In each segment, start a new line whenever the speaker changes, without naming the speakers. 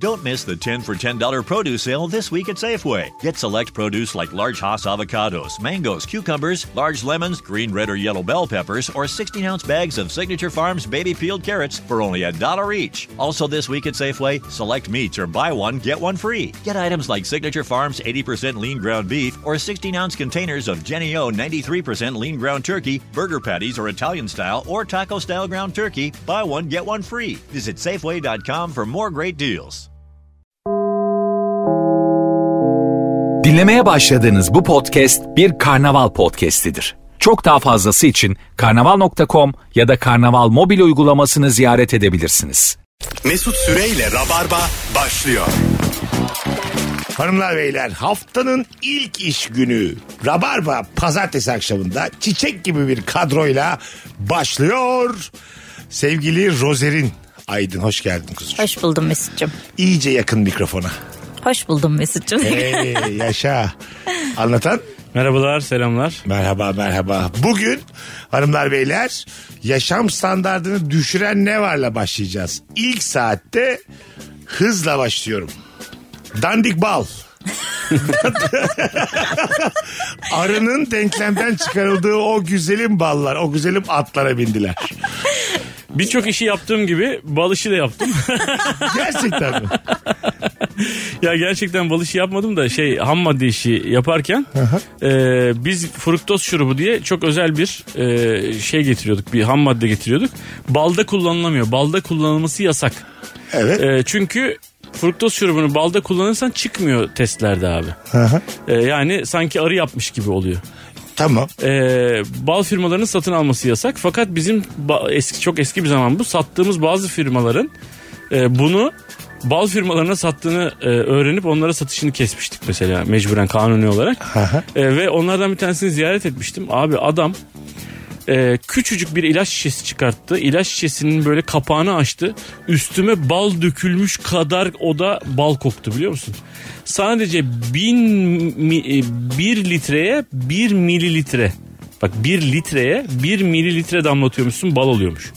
Don't miss the 10 for $10 produce sale this week at Safeway. Get select produce like large Hass avocados, mangoes, cucumbers, large lemons, green, red, or yellow bell peppers, or 16 ounce bags of Signature Farms baby peeled carrots for only a dollar each. Also, this week at Safeway, select meats or buy one, get one free. Get items like Signature Farms 80% lean ground beef or 16 ounce containers of Jenny O 93% lean ground turkey, burger patties or Italian style or taco style ground turkey. Buy one, get one free. Visit Safeway.com for more great deals.
Dinlemeye başladığınız bu podcast bir karnaval podcastidir. Çok daha fazlası için karnaval.com ya da karnaval mobil uygulamasını ziyaret edebilirsiniz.
Mesut Süreyle Rabarba başlıyor.
Hanımlar beyler haftanın ilk iş günü Rabarba pazartesi akşamında çiçek gibi bir kadroyla başlıyor. Sevgili Rozer'in Aydın hoş geldin kuzucuğum.
Hoş buldum Mesut'cum.
İyice yakın mikrofona.
Hoş buldum Mesut'cum.
Hey yaşa. Anlatan
Merhabalar, selamlar.
merhaba merhaba. Bugün hanımlar beyler yaşam standartını düşüren ne varla başlayacağız. İlk saatte hızla başlıyorum. Dandik bal. Arının denklemden çıkarıldığı o güzelim ballar, o güzelim atlara bindiler.
Birçok işi yaptığım gibi bal işi de yaptım.
Gerçekten mi?
ya gerçekten bal işi yapmadım da şey ham madde işi yaparken e, biz fruktoz şurubu diye çok özel bir e, şey getiriyorduk. Bir ham madde getiriyorduk. Balda kullanılamıyor. Balda kullanılması yasak.
Evet.
E, çünkü fruktoz şurubunu balda kullanırsan çıkmıyor testlerde abi. E, yani sanki arı yapmış gibi oluyor.
Tamam.
Ee, bal firmalarının satın alması yasak. Fakat bizim ba- eski çok eski bir zaman bu sattığımız bazı firmaların e, bunu bal firmalarına sattığını e, öğrenip onlara satışını kesmiştik mesela mecburen kanuni olarak. E, ve onlardan bir tanesini ziyaret etmiştim. Abi adam e, küçücük bir ilaç şişesi çıkarttı. İlaç şişesinin böyle kapağını açtı. Üstüme bal dökülmüş kadar o da bal koktu biliyor musun? Sadece bin mi, e, bir litreye bir mililitre. Bak bir litreye bir mililitre damlatıyormuşsun bal oluyormuş.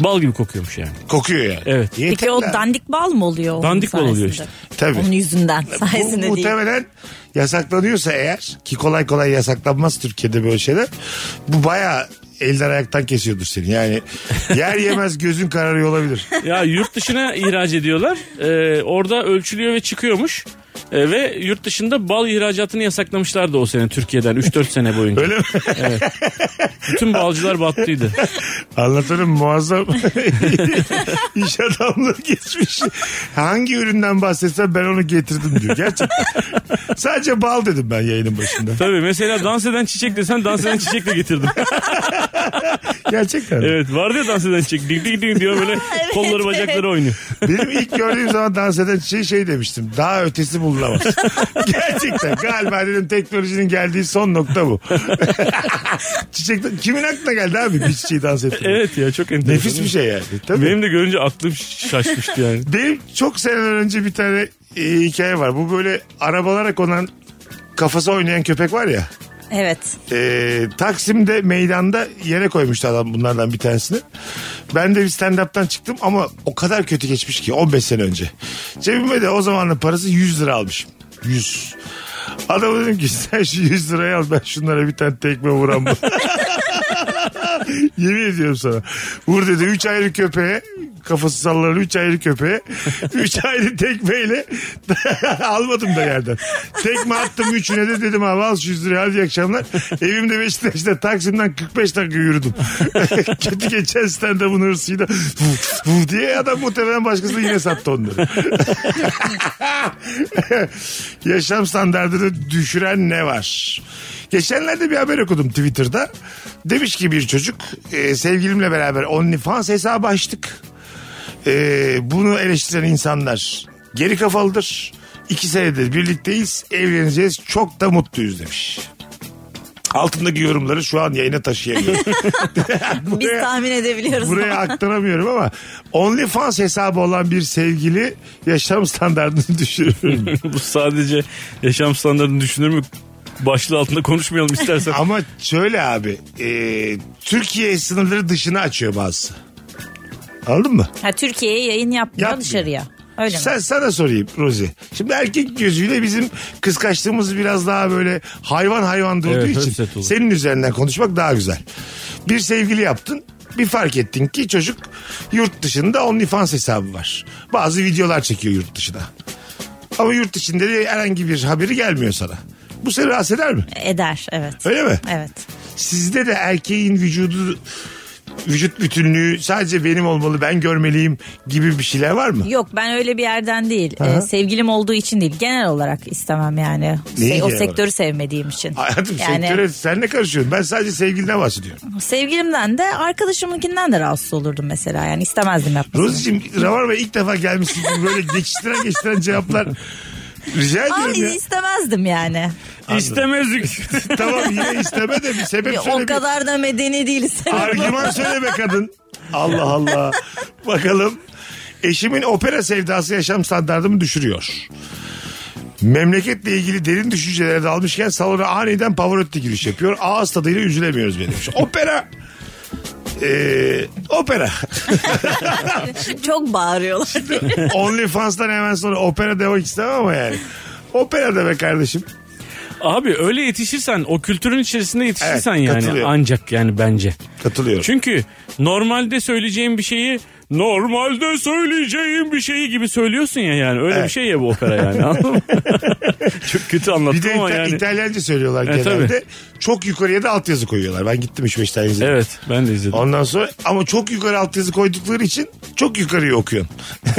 Bal gibi kokuyormuş yani.
Kokuyor yani.
Evet.
Yeter
Peki o
lan.
dandik bal mı oluyor? onun
Dandik bal oluyor
sayesinde?
Tabii.
Onun yüzünden
Bu
sayesinde değil.
muhtemelen yasaklanıyorsa eğer ki kolay kolay yasaklanmaz Türkiye'de böyle şeyler. Bu bayağı elden ayaktan kesiyordur seni. Yani yer yemez gözün kararıyor olabilir.
Ya yurt dışına ihraç ediyorlar. Ee, orada ölçülüyor ve çıkıyormuş. Ee, ve yurt dışında bal ihracatını yasaklamışlardı o sene Türkiye'den 3-4 sene boyunca.
Öyle mi?
Bütün balcılar battıydı.
Anlatanın muazzam iş adamlığı geçmiş. Hangi üründen bahsetsem ben onu getirdim diyor. Gerçekten. Sadece bal dedim ben yayının başında.
Tabii mesela dans eden çiçek desen dans eden çiçek de getirdim.
Gerçekten.
evet vardı ya dans eden çiçek. Dik dik dik diyor böyle kolları bacakları oynuyor.
Benim ilk gördüğüm zaman dans eden şey şey demiştim. Daha ötesi bulunamaz. Gerçekten galiba dedim teknolojinin geldiği son nokta bu. Çiçek kimin aklına geldi abi bir çiçeği dans ettirmek?
Evet ya çok enteresan.
Nefis bir şey yani. Tabii. Benim...
Benim de görünce aklım şaşmıştı yani.
çok seneler önce bir tane e, hikaye var. Bu böyle arabalara konan kafası oynayan köpek var ya.
Evet.
E, Taksim'de meydanda yere koymuştu adam bunlardan bir tanesini. Ben de bir stand-up'tan çıktım ama o kadar kötü geçmiş ki 15 sene önce. Cebime de o zamanın parası 100 lira almışım. 100. Adama dedim ki sen şu 100 lirayı al ben şunlara bir tane tekme vuram. Yemin ediyorum sana. Vur dedi 3 ayrı köpeğe kafası sallanan 3 ayrı köpeğe 3 ayrı tekmeyle almadım da yerden. Tekme attım üçüne de dedim abi al şu 100 lirayı hadi iyi akşamlar. Evimde Beşiktaş'ta Taksim'den 45 dakika yürüdüm. Kötü geçen stand-up'ın hırsıyla vuh, vuh diye adam muhtemelen başkasına yine sattı onları. Yaşam standartını düşüren ne var? Geçenlerde bir haber okudum Twitter'da. Demiş ki bir çocuk e, sevgilimle beraber OnlyFans hesabı açtık. E, bunu eleştiren insanlar geri kafalıdır. İki senedir birlikteyiz evleneceğiz çok da mutluyuz demiş. Altındaki yorumları şu an yayına taşıyamıyorum.
Biz
Buraya-
tahmin edebiliyoruz.
Buraya aktaramıyorum ama OnlyFans hesabı olan bir sevgili yaşam standartını düşürür.
Bu sadece yaşam standartını düşünür mü? Başlığı altında konuşmayalım istersen.
Ama şöyle abi e, Türkiye sınırları dışına açıyor bazı. Anladın mı?
Ha, Türkiye'ye yayın yapmıyor
Yapmıyor.
dışarıya. Öyle mi?
Sen sana sorayım Rozi. Şimdi erkek gözüyle bizim kıskaçlığımız biraz daha böyle hayvan hayvan durduğu
Evet, höpset
için
olur.
senin üzerinden konuşmak daha güzel. Bir sevgili yaptın. Bir fark ettin ki çocuk yurt dışında OnlyFans hesabı var. Bazı videolar çekiyor yurt dışına. Ama yurt içinde de herhangi bir haberi gelmiyor sana. Bu seni rahatsız eder mi?
Eder evet.
Öyle mi?
Evet.
Sizde de erkeğin vücudu vücut bütünlüğü sadece benim olmalı ben görmeliyim gibi bir şeyler var mı?
Yok ben öyle bir yerden değil. Ee, sevgilim olduğu için değil. Genel olarak istemem yani.
Neyi
Se- o
genel
sektörü sevmediğim için.
Hayatım
yani,
sektöre sen ne karışıyorsun? Ben sadece sevgiliden bahsediyorum.
Sevgilimden de arkadaşımınkinden de rahatsız olurdum mesela. Yani istemezdim yapmasını.
Rozi'cim Ravarma ilk defa gelmişsin gibi böyle geçiştiren geçiştiren cevaplar. Rica
Ama
ediyorum ya.
istemezdim yani.
İstemezdik.
tamam yine isteme de bir sebep söyle.
o
bir-
kadar da medeni değiliz.
Argüman söyle be kadın. Allah Allah. Bakalım. Eşimin opera sevdası yaşam standartımı düşürüyor. Memleketle ilgili derin düşüncelere dalmışken salona aniden Pavarotti giriş yapıyor. Ağız tadıyla üzülemiyoruz benim. Opera. Ee, opera.
Çok bağırıyorlar.
OnlyFans'tan hemen sonra opera demek istemem ama yani. Opera de be kardeşim.
Abi öyle yetişirsen o kültürün içerisinde yetişirsen
Evet,
yani
katılıyorum.
ancak yani bence.
Katılıyorum.
Çünkü normalde söyleyeceğim bir şeyi normalde söyleyeceğim bir şeyi gibi söylüyorsun ya yani. Öyle
Evet.
bir şey ya bu opera yani. anladın mı? Çok kötü anlattım
bir de
ama
İta-
yani.
İtalyanca söylüyorlar
E,
genelde.
tabii.
Çok yukarıya da altyazı koyuyorlar. Ben gittim 3-5 tane izledim.
Evet ben de izledim.
Ondan sonra ama çok yukarı alt yazı koydukları için çok yukarıya okuyorsun.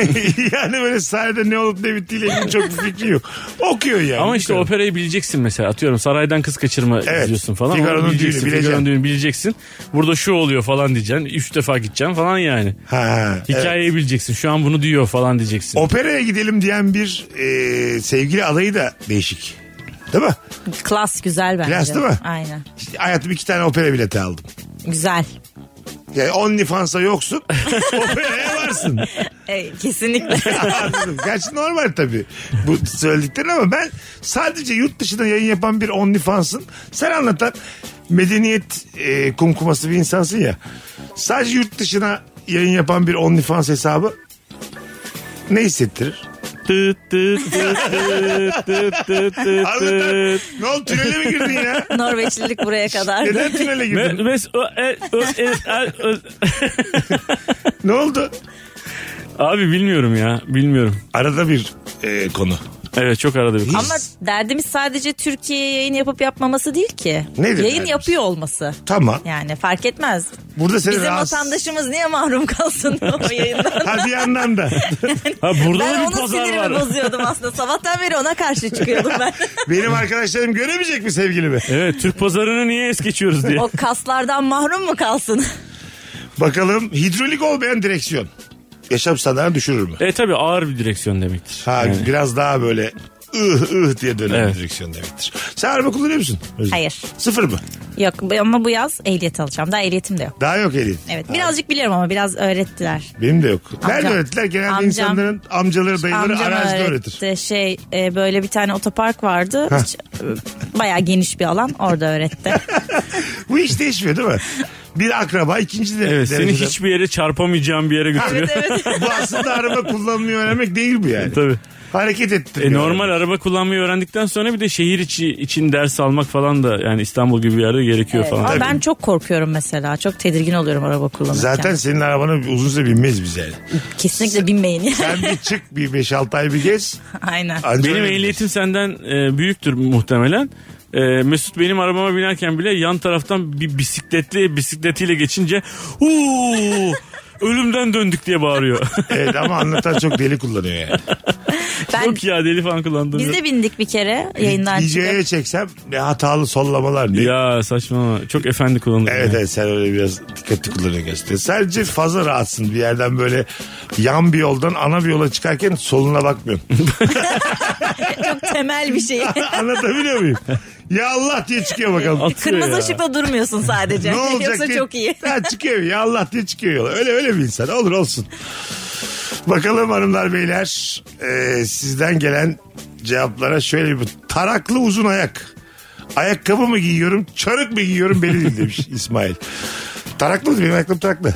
yani böyle sahnede ne olup ne bittiğiyle ilgili çok bir fikri yok. Okuyor yani.
Ama işte
Yukarı.
operayı bileceksin mesela. Atıyorum saraydan kız kaçırma
Evet.
izliyorsun falan.
Figaro'nun
Onu bileceksin.
düğünü bileceksin.
Figaro'nun düğünü bileceksin. Burada şu oluyor falan diyeceksin. Üç defa gideceksin falan yani.
Ha, evet.
Hikayeyi bileceksin. Şu an bunu diyor falan diyeceksin.
Operaya gidelim diyen bir e, sevgili adayı da değişik. Değil mi?
Klas güzel bence.
Klas değil mi?
Aynen.
İşte hayatım iki tane opera bileti aldım.
Güzel.
Yani OnlyFans'a yoksun. operaya varsın.
E, kesinlikle.
Anladım. Gerçi normal tabii bu söylediklerin ama ben sadece yurt dışında yayın yapan bir OnlyFans'ın sen anlatan medeniyet e, kumkuması bir insansın ya. Sadece yurt dışına yayın yapan bir OnlyFans hesabı ne hissettirir?
Tıt tıt tıt tıt tıt tıt tıt
Anlatan
tıt.
ne oldu tünele mi girdin ya?
Norveçlilik buraya kadar.
Neden tünele
Me-
girdin?
mes- ö- e- ö- e- a- ö-
ne oldu?
Abi bilmiyorum ya bilmiyorum.
Arada bir e, konu.
Evet çok arada bir.
Ama derdimiz sadece Türkiye'ye yayın yapıp yapmaması değil ki.
Nedir
yayın
derdimiz?
yapıyor olması.
Tamam.
Yani fark etmez.
Burada seni
Bizim
rahatsız...
vatandaşımız niye mahrum kalsın o yayından?
Ha bir yandan da.
Ha burada
Ben
da bir
onun
pazar
sinirimi
var.
bozuyordum aslında. Sabahtan beri ona karşı çıkıyordum ben.
Benim arkadaşlarım göremeyecek mi sevgilimi?
Evet Türk pazarını niye es geçiyoruz diye.
o kaslardan mahrum mu kalsın?
Bakalım hidrolik olmayan direksiyon. Yaşam standartını düşürür mü?
E tabi ağır bir direksiyon demektir.
Ha
Yani.
biraz daha böyle ıh ıh diye dönen
Evet.
bir direksiyon demektir. Sen araba kullanıyor musun? Özlem?
Hayır.
Sıfır mı?
Yok bu- ama bu yaz ehliyet alacağım. Daha ehliyetim de yok.
Daha yok elin.
Evet birazcık biliyorum ama biraz öğrettiler.
Benim de yok. Nerede
Amcam.
öğrettiler? Genelde
Amcam.
insanların amcaları dayıları
Amcam
arazide öğretir.
öğretti. Şey e, böyle bir tane otopark vardı. Hiç, e, bayağı geniş bir alan orada öğretti.
Bu hiç değişmiyor değil mi? Bir akraba ikinci de.
Evet seni
dereceden-
hiçbir yere çarpamayacağın bir yere götürüyor.
evet evet.
Bu aslında araba kullanmayı öğrenmek değil bu yani.
Tabii.
Hareket ettiriyor.
E normal araba kullanmayı öğrendikten sonra bir de şehir içi için ders almak falan da yani İstanbul gibi bir yerde gerekiyor
Evet,
falan.
Ama ben çok korkuyorum mesela. Çok tedirgin oluyorum araba kullanırken.
Zaten senin arabana uzun süre binmeyiz biz yani.
Kesinlikle binmeyin. yani.
Sen bir çık bir 5-6 ay bir gez.
Aynen.
Anca
Benim
öyle bineriz.
ehliyetim senden e, büyüktür muhtemelen. E, Mesut benim arabama binerken bile yan taraftan bir bisikletli bisikletiyle geçince uuu ölümden döndük diye bağırıyor.
Evet ama anlatan çok deli kullanıyor yani.
Ben,
Yok ya deli falan kullandım.
biz de bindik bir kere yayından
DJ'ye
çıkıp.
çeksem ne hatalı sollamalar ne
Ya saçmalama. Çok efendi kullanılır.
Evet
yani.
evet sen öyle biraz dikkatli kullanıyorsun gerçekten. Sadece fazla rahatsın bir yerden böyle yan bir yoldan ana bir yola çıkarken soluna bakmıyorsun.
Çok temel bir şey.
Anlatabiliyor muyum? Ya Allah diye çıkıyor bakalım.
Atıyor
Kırmızı
ya.
ışıkta durmuyorsun sadece.
ne olacak
Yoksa
diye.
çok iyi.
Ha, çıkıyor ya Allah diye çıkıyor yola. Öyle öyle bir insan olur olsun. Bakalım hanımlar beyler Ee, sizden gelen cevaplara şöyle bir taraklı uzun ayak. Ayakkabı mı giyiyorum çarık mı giyiyorum belli değil demiş İsmail. Taraklı mı? Benim ayakkabım taraklı.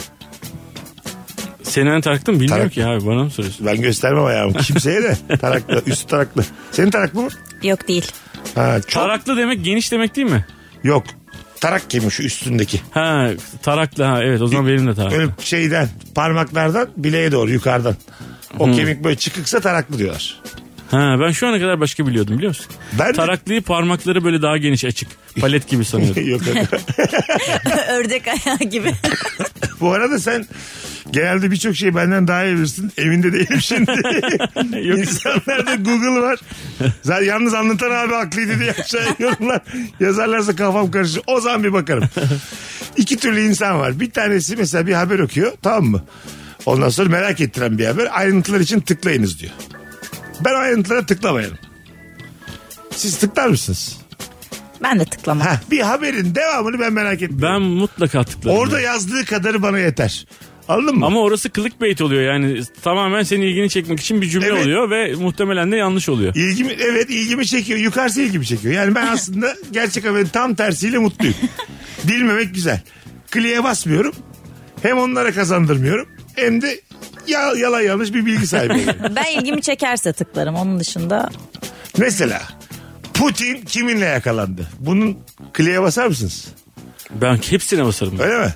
Senin taraktın mı? Bilmiyorum
Tarak.
ki abi bana mı soruyorsun?
Ben göstermem ayağımı kimseye de. Taraklı. Üstü taraklı. Senin taraklı mı?
Yok değil.
Ha, çok.
Taraklı demek geniş demek değil mi?
Yok. Tarak gibi şu üstündeki.
Ha taraklı ha evet o zaman benim de taraklı.
Böyle şeyden parmaklardan bileğe doğru yukarıdan. O
Hmm.
kemik böyle çıkıksa taraklı diyorlar.
Ha ben şu ana kadar başka biliyordum biliyor musun?
Ben de-
Taraklıyı parmakları böyle daha geniş açık. Palet gibi sanıyordum.
Yok öyle.
Ördek ayağı gibi.
Bu arada sen genelde birçok şeyi benden daha iyi bilirsin. Evinde değilim şimdi. İnsanlarda Google var. Zaten yalnız anlatan abi haklıydı diye aşağıya yorumlar. Yazarlarsa kafam karışır. O zaman bir bakarım. İki türlü insan var. Bir tanesi mesela bir haber okuyor. Tamam mı? Ondan sonra merak ettiren bir haber. Ayrıntılar için tıklayınız diyor. Ben ayrıntılara tıklamayalım. Siz tıklar mısınız?
Ben de tıklamam.
Heh, bir haberin devamını ben merak etmiyorum.
Ben mutlaka tıkladım.
Orada yazdığı kadarı bana yeter. Anladın mı?
Ama orası clickbait oluyor yani tamamen senin ilgini çekmek için bir cümle
Evet.
oluyor ve muhtemelen de yanlış oluyor.
İlgimi, evet ilgimi çekiyor. Yukarısı ilgimi çekiyor. Yani ben aslında gerçek haberin tam tersiyle mutluyum. Bilmemek güzel. Kliye basmıyorum. Hem onlara kazandırmıyorum. Hem de ya, yalan yanlış bir bilgi sahibi oluyorum.
Ben ilgimi çekerse tıklarım. Onun dışında
Mesela Putin kiminle yakalandı? Bunun kliye basar mısınız?
Ben hepsine basarım.
Öyle mi?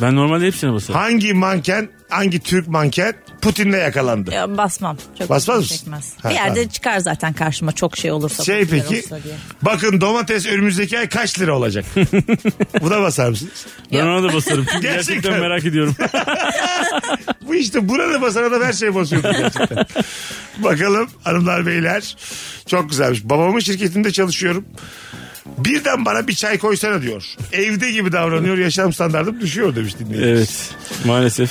Ben normalde hepsine basarım.
Hangi manken, hangi Türk manken Putin'le yakalandı?
ya, basmam. Çok
Basmaz
ilgimi
mısın?
Çekmez.
Ha,
bir yerde
tamam.
çıkar zaten karşıma çok şey olursa.
Şey
popüler
peki,
olsa diye.
bakın domates önümüzdeki ay kaç lira olacak? Buna basar mısınız?
Ben ona da basarım. Çünkü
Gerçekten.
gerçekten merak ediyorum.
Bu işte burada basana da her şey basıyordu gerçekten. Bakalım hanımlar beyler. Çok güzelmiş. Babamın şirketinde çalışıyorum. Birden bana bir çay koysana diyor. Evde gibi davranıyor. Yaşam standartım düşüyor demiş dinleyici.
Evet maalesef.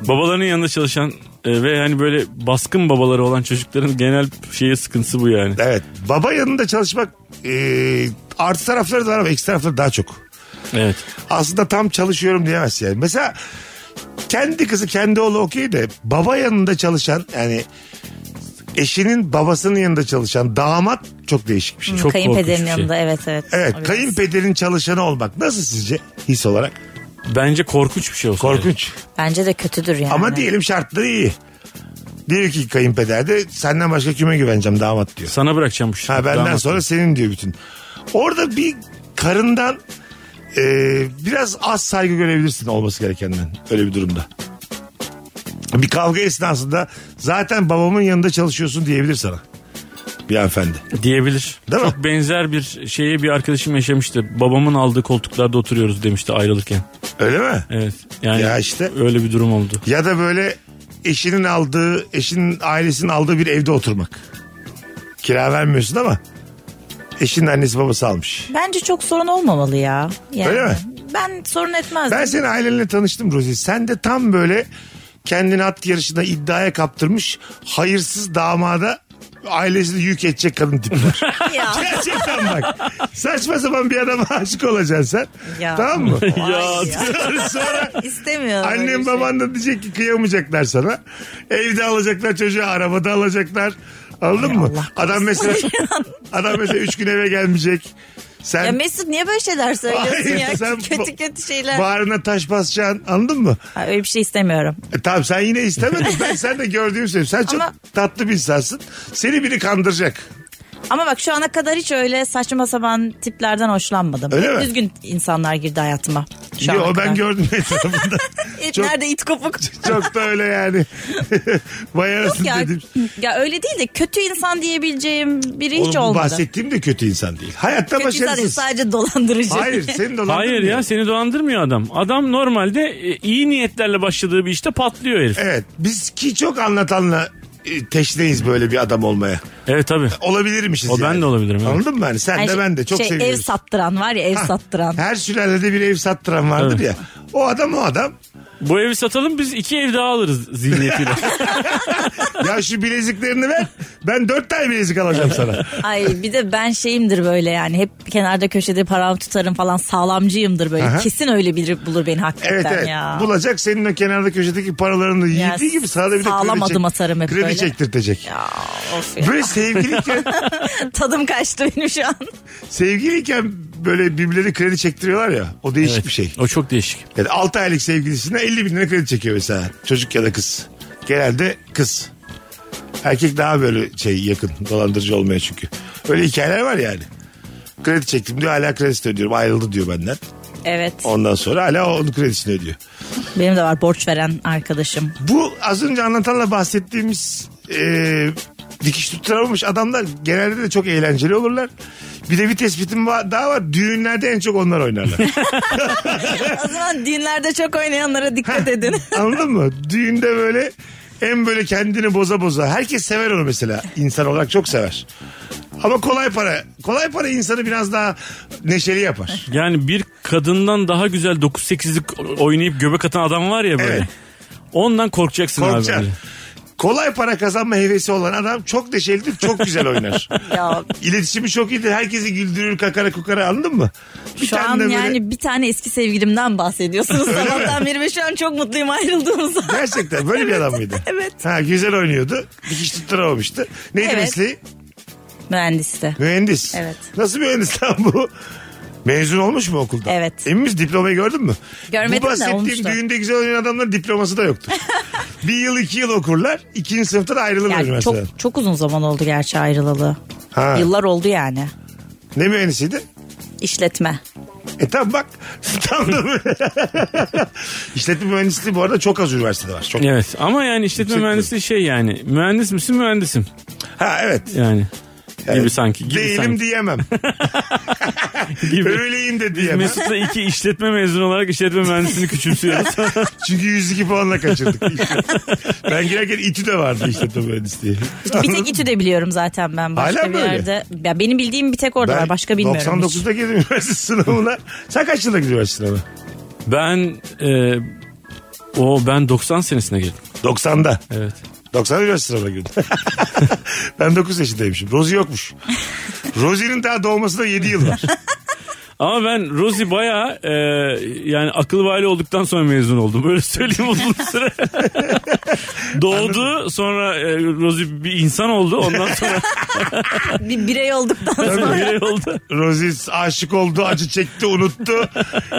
Babalarının yanında çalışan e, ve hani böyle baskın babaları olan çocukların genel şeye sıkıntısı bu yani.
Evet. Baba yanında çalışmak e, artı tarafları da var ama eksi tarafları daha çok.
Evet.
Aslında tam çalışıyorum diyemez yani. Mesela kendi kızı kendi oğlu okey de baba yanında çalışan yani eşinin babasının yanında çalışan damat çok değişik bir şey.
Çok korkunç bir
Kayınpederin
şey.
yanında evet evet.
Evet
O biraz-
kayınpederin çalışanı olmak nasıl sizce his olarak?
Bence korkunç bir şey olsun.
Korkunç.
Bence de kötüdür yani.
Ama diyelim şartları iyi. Diyor ki kayınpeder de senden başka kime güveneceğim damat diyor.
Sana bırakacağım bu
Ha benden
Damat.
sonra senin diyor bütün. Orada bir karından e, biraz az saygı görebilirsin olması gerekenden öyle bir durumda. Bir kavga esnasında zaten babamın yanında çalışıyorsun diyebilir sana. Bir hanımefendi.
diyebilir.
Değil mi?
Çok benzer bir şeye bir arkadaşım yaşamıştı. Babamın aldığı koltuklarda oturuyoruz demişti ayrılırken.
Öyle mi?
Evet. Yani
Ya işte.
öyle bir durum oldu.
Ya da böyle eşinin aldığı, eşinin ailesinin aldığı bir evde oturmak. Kira vermiyorsun ama eşinin annesi babası almış.
Bence çok sorun olmamalı ya. Yani
Öyle mi?
Ben sorun etmezdim.
Ben senin ailenle tanıştım Rozi. Sen de tam böyle kendini at yarışına iddiaya kaptırmış hayırsız damada ailesini yük edecek kadın tipi var.
Ya.
Gerçekten bak. Saçma sapan bir adama aşık olacaksın sen.
Ya.
Tamam mı?
Vay
Ya.
Sonra
İstemiyorum. öyle
Annem
bir şey.
baban da diyecek ki kıyamayacaklar sana. Evde alacaklar çocuğu, arabada alacaklar. Anladın mı?
Allah
Adam mesela adam mesela üç gün eve gelmeyecek. Sen
Ya Mesut niye böyle şeyler söylüyorsun
Hayır,
ya?
sen
kötü
bu-
kötü şeyler.
bağrına taş basacaksın anladın mı?
Ha, öyle bir şey istemiyorum.
E, tamam sen yine istemedin. ben sen de gördüğüm şey. Sen çok
Ama-
tatlı bir insansın. Seni biri kandıracak.
Ama bak şu ana kadar hiç öyle saçma sapan tiplerden hoşlanmadım.
Öyle mi?
Düzgün insanlar girdi hayatıma. Şu
Yo,
ana
ben
kadar.
gördüm etrafında.
İt
çok-
Nerede it kopuk?
çok da öyle yani. Vay arasın
ya,
dedim.
ya öyle değil de kötü insan diyebileceğim biri hiç
Oğlum, bu
olmadı.
bahsettiğim de kötü insan değil. Hayatta
Kötü insan değil,
başarısız.
sadece dolandırıcı.
Hayır senin dolandın
Hayır ya seni dolandırmıyor adam. Adam normalde e, iyi niyetlerle başladığı bir işte patlıyor herif.
Evet biz ki çok anlatanla e, teşneyiz böyle bir adam olmaya.
Evet tabii.
Olabilirmişiz
O ben
yani.
de olabilirim, evet.
Anladın mı? Yani sen
Yani
de ben de çok
şey, Ev
seviyoruz.
sattıran var ya ev
Ha,
sattıran.
Her sülalede bir ev sattıran vardır
Evet.
ya. O adam o adam.
Bu evi satalım biz iki ev daha alırız zihniyetiyle.
Ya şu bileziklerini ver. Ben dört tane bilezik alacağım sana.
Ay bir de ben şeyimdir böyle yani hep kenarda köşede param tutarım falan sağlamcıyımdır böyle.
Aha.
Kesin öyle biri bulur beni hakikaten
Evet evet.
ya.
Bulacak senin o kenarda köşedeki paralarını da
Ya
yediği gibi sana da bir de
sağlam
kredi, çek-
adım atarım hep
kredi
böyle.
çektirtecek.
Ya, of ya.
Böyle sevgiliyken,
Tadım kaçtı benim şu an.
sevgiliyken böyle birbirleri kredi çektiriyorlar ya. O değişik bir şey.
O çok değişik.
Yani 6 aylık sevgilisine 50 bin lira kredi çekiyor mesela. Çocuk ya da kız. Genelde kız. Erkek daha böyle şey yakın dolandırıcı olmaya çünkü. Öyle hikayeler var yani. Kredi çektim diyor hala kredisini ödüyorum ayrıldı diyor benden.
Evet.
Ondan sonra hala onun kredisini ödüyor.
Benim de var borç veren arkadaşım.
Bu az önce anlatanla bahsettiğimiz e, dikiş tutturamamış adamlar genelde de çok eğlenceli olurlar. Bir de bir tespitim va- daha var. Düğünlerde en çok onlar oynarlar.
o zaman dinlerde çok oynayanlara dikkat edin.
Anladın mı? Düğünde böyle en böyle kendini boza boza. Herkes sever onu mesela. İnsan olarak çok sever. Ama kolay para. Kolay para insanı biraz daha neşeli yapar.
Yani bir kadından daha güzel 9-8'lik oynayıp göbek atan adam var ya böyle.
Evet.
Ondan korkacaksın abi.
Korkacak.
bence.
Kolay para kazanma hevesi olan adam çok neşelidir, çok güzel oynar.
ya
İletişimi çok iyidir. Herkesi güldürür, kakara kukara anladın mı? Bir
şu
tane
an
de böyle-
yani bir tane eski sevgilimden bahsediyorsunuz sabahtan beri ve şu an çok mutluyum ayrıldığımıza.
Gerçekten böyle bir adam mıydı?
Evet.
Ha güzel oynuyordu. Dikiş tutturamamıştı. Neydi
Evet.
mesleği?
Mühendiste.
Mühendis.
Evet.
Nasıl mühendis lan bu? Mezun olmuş mu okuldan?
Evet.
Emin misin? Diplomayı gördün mü?
Görmedim
Bu
de
bahsettiğim
olmuştu.
düğünde güzel oynayan adamların diploması da yoktur. bir yıl iki yıl okurlar. ikinci sınıfta da ayrılırlar
Yani
mesela.
çok çok uzun zaman oldu gerçi ayrılalı.
Ha.
Yıllar oldu yani.
Ne mühendisiydi?
İşletme.
E tam bak. Tam da İşletme mühendisliği bu arada çok az üniversitede var. Çok.
Evet ama yani işletme
Yüksek
mühendisliği şey yani mühendis misin mühendisim
Ha evet.
yani.
Evet.
Gibi sanki. Gibi
Değilim
sanki.
diyemem.
Gibi.
Öyleyim de diyemem.
Mesut'la iki işletme mezunu olarak işletme mühendisini küçümsüyoruz.
Çünkü 102 puanla kaçırdık. ben girerken İTÜ de vardı işletme mühendisliği.
Bir tek İTÜ de biliyorum zaten ben başka
Hala
bir
mı öyle?
yerde. Ya benim bildiğim bir tek orada
Ben
var başka bilmiyorum. hiç.
99'da girdim üniversite sınavına. Sen kaç yılda gidiyorsun sınavına?
ben e, o ben 90 senesine girdim.
90'da.
Evet.
90'da üniversite sınavına girdim. ben 9 yaşındaymışım. Rozi yokmuş. Rozi'nin daha doğmasına 7 yıl var.
Ama ben Rosie bayağı e, yani akıl vali olduktan sonra mezun oldum. Böyle söyleyeyim uzun süre. Doğdu sonra e, Rosie bir insan oldu. Ondan sonra
Bir birey olduktan sonra.
birey oldu.
Rozi aşık oldu, acı çekti, unuttu.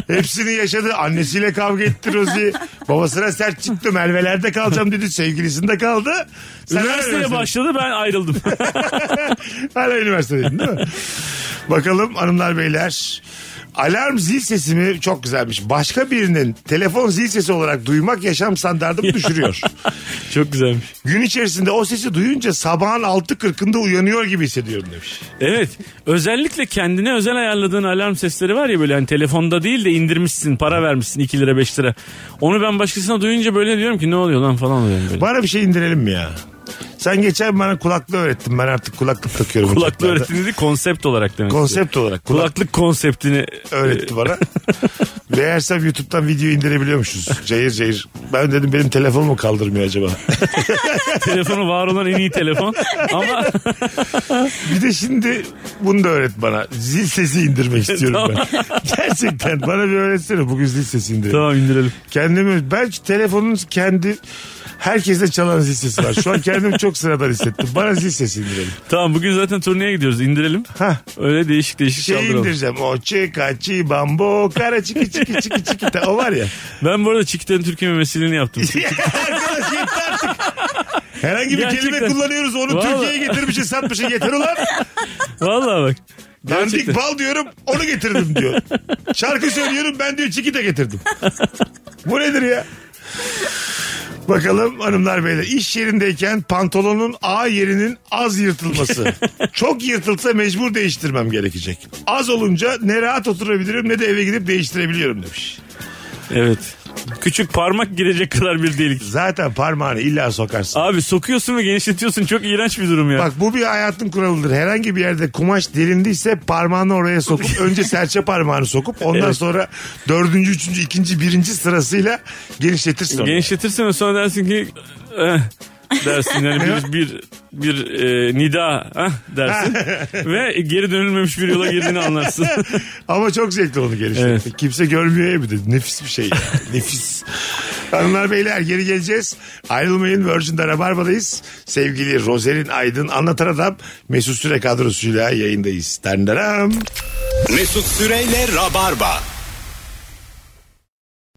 Hepsini yaşadı. Annesiyle kavga etti Rozi. Babasına sert çıktı. Merve'lerde kalacağım dedi. Sevgilisinde kaldı. Sen
Üniversiteye
üniversitede-
başladı ben ayrıldım.
Hala üniversitedeydin değil mi? Bakalım hanımlar beyler. Alarm zil sesimi çok güzelmiş. Başka birinin telefon zil sesi olarak duymak yaşam standartımı düşürüyor.
Çok güzelmiş.
Gün içerisinde o sesi duyunca sabahın 6.40'ında uyanıyor gibi hissediyorum demiş.
Evet. Özellikle kendine özel ayarladığın alarm sesleri var ya böyle hani telefonda değil de indirmişsin para vermişsin 2 lira 5 lira. Onu ben başkasına duyunca böyle diyorum ki ne oluyor lan falan oluyorum böyle.
Bana bir şey indirelim mi ya? Sen geçen bana kulaklığı öğrettin. Ben artık kulaklık takıyorum.
Kulaklık
uçaklarda.
öğretimi değil, konsept olarak demek. istiyorum.
Konsept olarak kulak
Kulaklık konseptini
öğretti bana. Meğersem YouTube'dan video indirebiliyormuşuz. Cayır cayır. Ben dedim benim telefon mu kaldırmıyor acaba?
telefonu var olan en iyi telefon. Ama
Bir de şimdi bunu da öğret bana. Zil sesi indirmek istiyorum ben. Gerçekten bana bir öğretsene bugün zil sesi indirelim.
tamam indirelim.
Kendimi ben şu telefonun kendi herkeste çalan zil sesi var. Şu an kendimi çok sıradan hissettim. Bana zil sesi indirelim.
Tamam bugün zaten turneye gidiyoruz indirelim.
Hah.
Öyle değişik değişik
Şey
çaldıralım.
indireceğim. O çıka çi bambo kara çiki çiki çiki çiki. ta- O var ya.
Ben bu arada Çikita'nın Türkiye memesiliğini yaptım.
Arkadaş yeter artık. Herhangi bir kelime
Gerçekten.
kullanıyoruz. Onu
Vallahi.
Türkiye'ye getirmişsin satmışsın. Yeter ulan.
Vallahi bak.
Dandik
Gerçekten.
bal diyorum onu getirdim diyor. Şarkı söylüyorum ben diyor çiki de getirdim. Bu nedir ya? Bakalım hanımlar beyler iş yerindeyken pantolonun A yerinin az yırtılması. Çok yırtılsa mecbur değiştirmem gerekecek. Az olunca ne rahat oturabilirim ne de eve gidip değiştirebiliyorum demiş.
Evet. Küçük parmak girecek kadar bir delik.
Zaten parmağını illa sokarsın.
Abi sokuyorsun ve genişletiyorsun. Çok iğrenç bir durum ya.
Bak bu bir hayatın kuralıdır. Herhangi bir yerde kumaş derindiyse parmağını oraya sokup önce serçe parmağını sokup ondan sonra dördüncü, üçüncü, ikinci, birinci sırasıyla genişletirsin. onu.
Genişletirsin ve sonra dersin ki "Eh," dersin yani bir bir, bir e, nida "Ah," dersin ve geri dönülmemiş bir yola girdiğini anlarsın.
Ama çok zevkli onu genişletmek.
Evet.
Kimse görmüyor ya bir de. Nefis bir şey. ya. Nefis. Hanımlar beyler geri geleceğiz. Ayrılmayın Virgin'de Rabarba'dayız. Sevgili Rozerin Aydın anlatan adam Mesut Süre kadrosuyla yayındayız. Dandaram.
Mesut Süreyle Rabarba.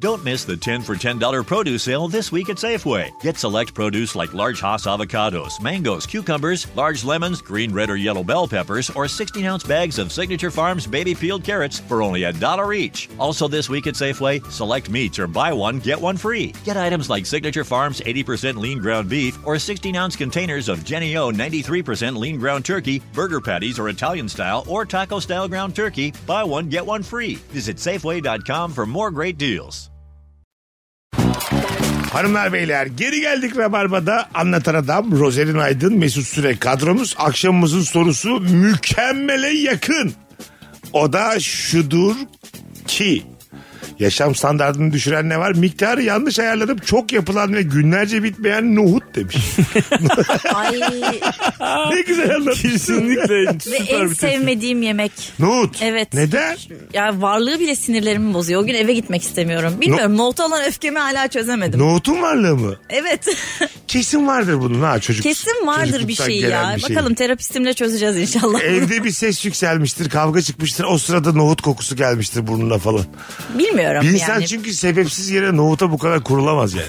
Don't miss the 10 for $10 produce sale this week at Safeway. Get select produce like large Hass avocados, mangoes, cucumbers, large lemons, green, red, or yellow bell peppers, or 16 ounce bags of Signature Farms baby peeled carrots for only a dollar each. Also, this week at Safeway, select meats or buy one, get one free. Get items like Signature Farms 80% lean ground beef or 16 ounce containers of Jenny O 93% lean ground turkey, burger patties or Italian style or taco style ground turkey. Buy one, get one free. Visit Safeway.com for more great deals.
Hanımlar beyler geri geldik Rabarba'da anlatan adam Rozerin Aydın Mesut Süre kadromuz akşamımızın sorusu mükemmele yakın. O da şudur ki yaşam standartını düşüren ne var? Miktarı yanlış ayarladım çok yapılan ve günlerce bitmeyen nohut demiş.
Ay
ne güzel anlatmışsın.
Kesinlikle
ve en
süper bir tespit.
sevmediğim yemek.
nohut.
Evet.
Neden?
Ya varlığı bile sinirlerimi bozuyor. O gün eve gitmek istemiyorum. Bilmiyorum. Nohuta olan öfkemi hala çözemedim.
Nohutun varlığı mı?
Evet.
Kesin vardır bunun ha çocuk.
Kesin vardır bir
çocukluktan
şey
gelen
ya.
bir şey.
Bakalım terapistimle çözeceğiz inşallah.
Evde bir ses yükselmiştir, kavga çıkmıştır. O sırada nohut kokusu gelmiştir burnuna falan.
Bilmiyorum
Bir
yani.
insan çünkü sebepsiz yere nohuta bu kadar kurulamaz yani.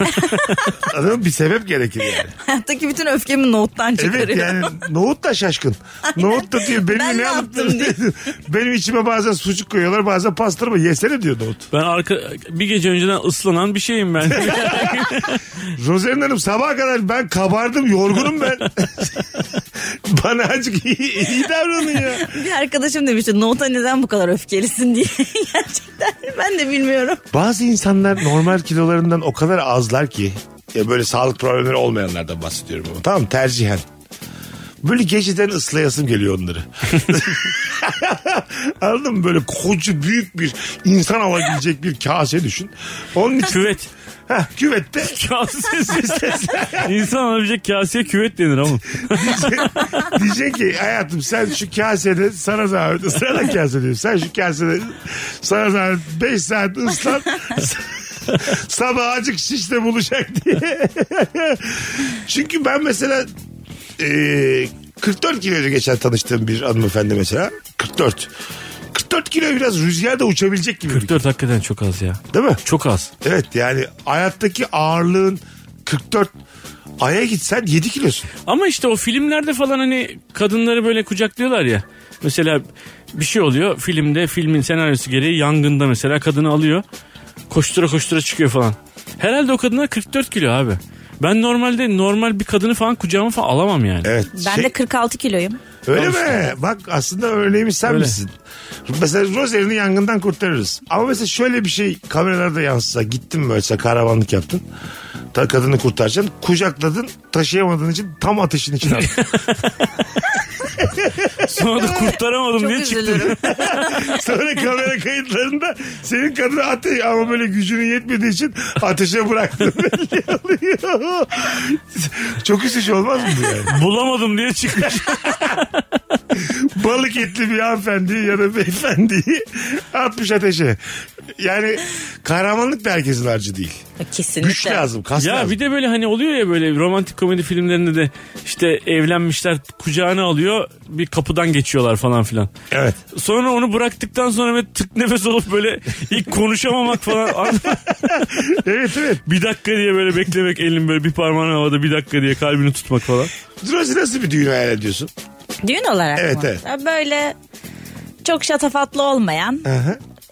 Anladın mı? Bir sebep gerekir yani.
Hayattaki bütün öfkemi nohuttan çıkarıyorum.
Evet yani nohut da şaşkın. nohut da diyor benim
Ben
ne
ne
yaptım
yaptım diyor.
benim içime bazen sucuk koyuyorlar bazen pastırma yesene diyor nohut.
Ben arka bir gece önceden ıslanan bir şeyim ben.
Rozerin Hanım sabaha kadar ben kabardım yorgunum ben. Bana azıcık iyi, iyi davranın ya.
Bir arkadaşım demişti nohuta neden bu kadar öfkelisin diye. Gerçekten ben de bilmiyorum.
Bazı insanlar normal kilolarından o kadar azlar ki ya böyle sağlık problemleri olmayanlardan bahsediyorum ama tamam tercihen. Böyle geceden ıslayasım geliyor onları. Anladın mı? Böyle koca büyük bir insan alabilecek bir kase düşün. Onun için
küvet.
Heh, küvette
Kasesi. İnsan alabilecek kaseye küvet denir ama.
diyecek ki hayatım sen şu kasede sana zahmet ıslana kase diyor. Sen şu kasede sana zahmet 5 saat ıslan sabah acık şişle buluşak diye. Çünkü ben mesela e, 44 kiloydu geçen tanıştığım bir hanımefendi mesela. 44. 44 kilo biraz rüzgarda uçabilecek gibi.
44 hakikaten çok az ya.
Değil mi?
Çok az.
Evet yani hayattaki ağırlığın 44 Ay'a gitsen 7 kilosun.
Ama işte o filmlerde falan hani kadınları böyle kucaklıyorlar ya. Mesela bir şey oluyor filmde filmin senaryosu gereği yangında mesela kadını alıyor. Koştura koştura çıkıyor falan. Herhalde o kadına 44 kilo abi. Ben normalde normal bir kadını falan kucağıma falan alamam yani.
Evet.
Ben
şey-
de 46 kiloyum.
Öyle mi? Bak aslında örneğimiz sen
Öyle.
misin? Mesela Rozerin'i yangından kurtarırız. Ama mesela şöyle bir şey kameralarda yansısa gittin böyle mesela kahramanlık yaptın. Ta kadını kurtaracaksın. Kucakladın taşıyamadığın için tam ateşin içine attın.
Sonra da kurtaramadım
Çok
diye çıktım.
üzülürüm.
Sonra kamera kayıtlarında senin kadını ateş ama böyle gücünün yetmediği için ateşe bıraktın. Belli oluyor. Çok üzücü olmaz mı bu yani?
Bulamadım diye çıkmış.
balık etli bir hanımefendi ya da beyefendiyi atmış ateşe. Yani kahramanlık da herkesin harcı değil.
Kesinlikle.
Güç lazım, kas
ya
lazım.
bir de böyle hani oluyor ya böyle romantik komedi filmlerinde de işte evlenmişler kucağına alıyor bir kapıdan geçiyorlar falan filan.
Evet.
Sonra onu bıraktıktan sonra böyle tık nefes olup böyle ilk konuşamamak falan.
Evet evet.
bir dakika diye böyle beklemek elin böyle bir parmağını havada bir dakika diye kalbini tutmak falan.
Drozi nasıl bir düğün hayal ediyorsun?
Düğün olarak
Evet,
mı?
evet.
Ya Böyle çok şatafatlı olmayan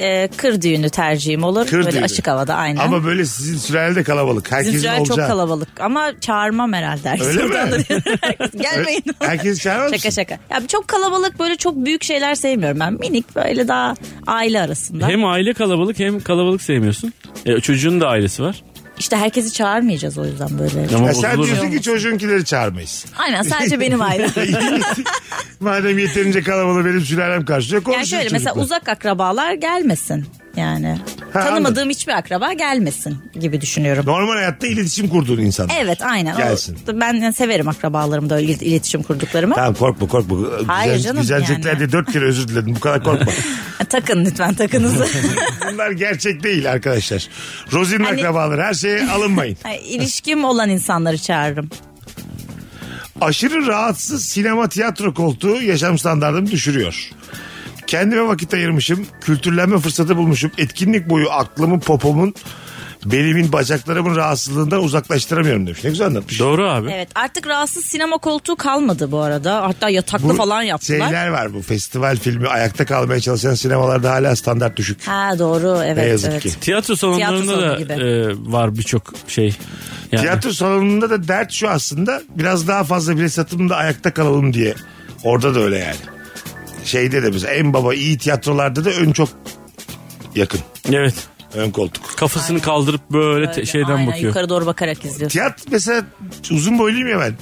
e, kır düğünü tercihim olur.
Kır
böyle
düğünü.
açık havada aynen.
Ama böyle sizin sülale de kalabalık. Herkesin
Zincirler
olacağı.
çok kalabalık ama çağırmam herhalde. herkesi.
Öyle mi?
Buradan da diyorum, herkes, Gelmeyin.
Herkes çağırmaz
Şaka
mısın?
şaka. Ya çok kalabalık böyle çok büyük şeyler sevmiyorum ben. Minik böyle daha aile arasında.
Hem aile kalabalık hem kalabalık sevmiyorsun. E, çocuğun da ailesi var.
İşte herkesi çağırmayacağız o yüzden böyle.
Ama
Ya E, sen
bozulur.
diyorsun ki çocuğunkileri çağırmayız.
Aynen sadece benim ailem.
Madem yeterince kalabalığı benim sülalem karşılıyor konuşun
Yani şöyle mesela
çocukla.
uzak akrabalar gelmesin yani.
Ha,
Tanımadığım
anladım.
hiçbir akraba gelmesin gibi düşünüyorum.
Normal hayatta iletişim kurduğun insan.
Evet aynen. O-
Gelsin.
ben severim akrabalarımla öyle il- iletişim kurduklarımı.
Tamam korkma korkma. Güzel,
Hayır canım,
Güzelcekler
yani.
diye dört kere özür diledim. Bu kadar korkma.
Takın lütfen takınızı.
Bunlar gerçek değil arkadaşlar. Rozi'nin
Hani-
akrabaları her şeye alınmayın.
Ay, İlişkim olan insanları çağırırım.
Aşırı rahatsız sinema tiyatro koltuğu yaşam standartımı düşürüyor. Kendime vakit ayırmışım. Kültürlenme fırsatı bulmuşum. Etkinlik boyu aklımı popomun belimin bacaklarımın rahatsızlığından uzaklaştıramıyorum demiş. Ne güzel anlatmış.
Doğru abi.
Evet artık rahatsız sinema koltuğu kalmadı bu arada. Hatta yataklı falan yaptılar.
Şeyler var bu festival filmi ayakta kalmaya çalışan sinemalarda hala standart düşük.
Ha doğru evet.
ne yazık
evet.
ki.
Tiyatro salonlarında
salonu
da
gibi.
e, var birçok şey. Yani.
Tiyatro salonunda da dert şu aslında biraz daha fazla bilet satımında ayakta kalalım diye. Orada da öyle yani. Şeyde de mesela en baba iyi tiyatrolarda da ön çok yakın.
Evet.
Ön koltuk.
Kafasını kaldırıp böyle te-
Böyle,
şeyden
aynen,
bakıyor.
Yukarı doğru bakarak izliyor.
Tiyat mesela uzun boyluyum ya ben.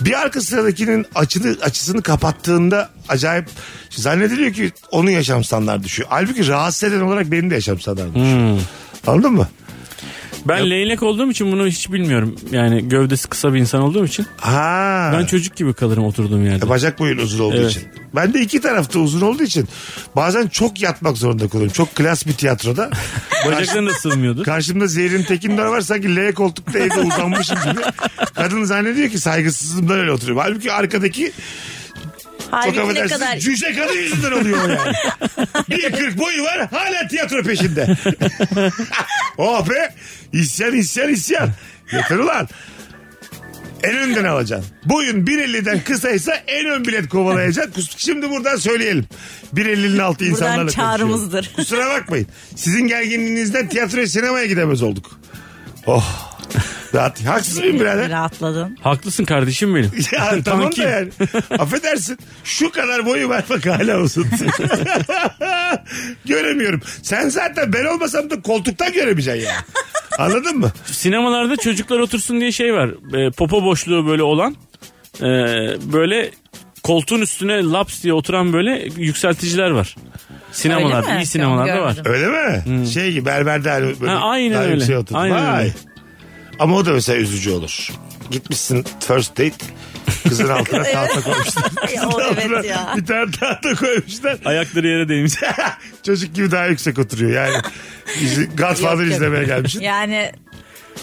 Bir arka sıradakinin açını, açısını kapattığında acayip zannediliyor ki onun yaşam standartı düşüyor. Halbuki rahatsız eden olarak benim de yaşam standartım düşüyor. Anladın mı?
Ben leylek olduğum için bunu hiç bilmiyorum. Yani gövdesi kısa bir insan olduğum için.
Ha.
Ben çocuk gibi kalırım oturduğum yerde.
E, Bacak boyun uzun olduğu
Evet.
için. Ben de iki tarafta uzun olduğu için bazen çok yatmak zorunda kalıyorum. Çok klas bir tiyatroda.
Bacakların da sığmıyordu.
Karşımda Zehrin Tekindor var sanki L koltukta evde uzanmışım gibi. Kadın zannediyor ki saygısızlığımdan öyle oturuyorum. Halbuki arkadaki çok
Halbuki ne
affedersiniz
kadar
cüce kadın yüzünden oluyor o yani. Bir kırk boyu var hala tiyatro peşinde. oh be isyan isyan isyan. Yeter ulan. En önden alacaksın. Boyun 1.50'den kısaysa en ön bilet kovalayacaksın. Kus- Şimdi buradan söyleyelim. 1.50'nin altı insanlarla konuşuyorum.
çağrımızdır.
Kusura bakmayın. Sizin gerginliğinizden tiyatroya sinemaya gidemez olduk. Oh. Rahat. Haksız mıyım birader?
rahatladın.
Haklısın kardeşim benim.
Ya tamam da
Tankim.
yani. Affedersin. Şu kadar boyu var bak hala uzun. Göremiyorum. Sen zaten ben olmasam da koltuktan göremeyeceksin ya. Anladın mı?
Sinemalarda çocuklar otursun diye şey var. E, popo boşluğu böyle olan. e, böyle koltuğun üstüne laps diye oturan böyle yükselticiler var.
Öyle
Sinemalarda,
mi?
iyi sinemalarda
Tamam,
var.
gördüm.
Öyle mi? Şey gibi berberde hani böyle
Hmm. Ha, aynen
daha
öyle.
yükseğe oturdu.
Aynen
Vay.
öyle.
Ama o da mesela üzücü olur. Gitmişsin first date kızın altına tahta koymuşlar.
Ya, o evet ya.
Bir tane tahta koymuşlar.
Ayakları yere değmiş.
Çocuk gibi daha yüksek oturuyor yani. bizi Godfather
Yok, yok.
izlemeye gelmişsin.
Yani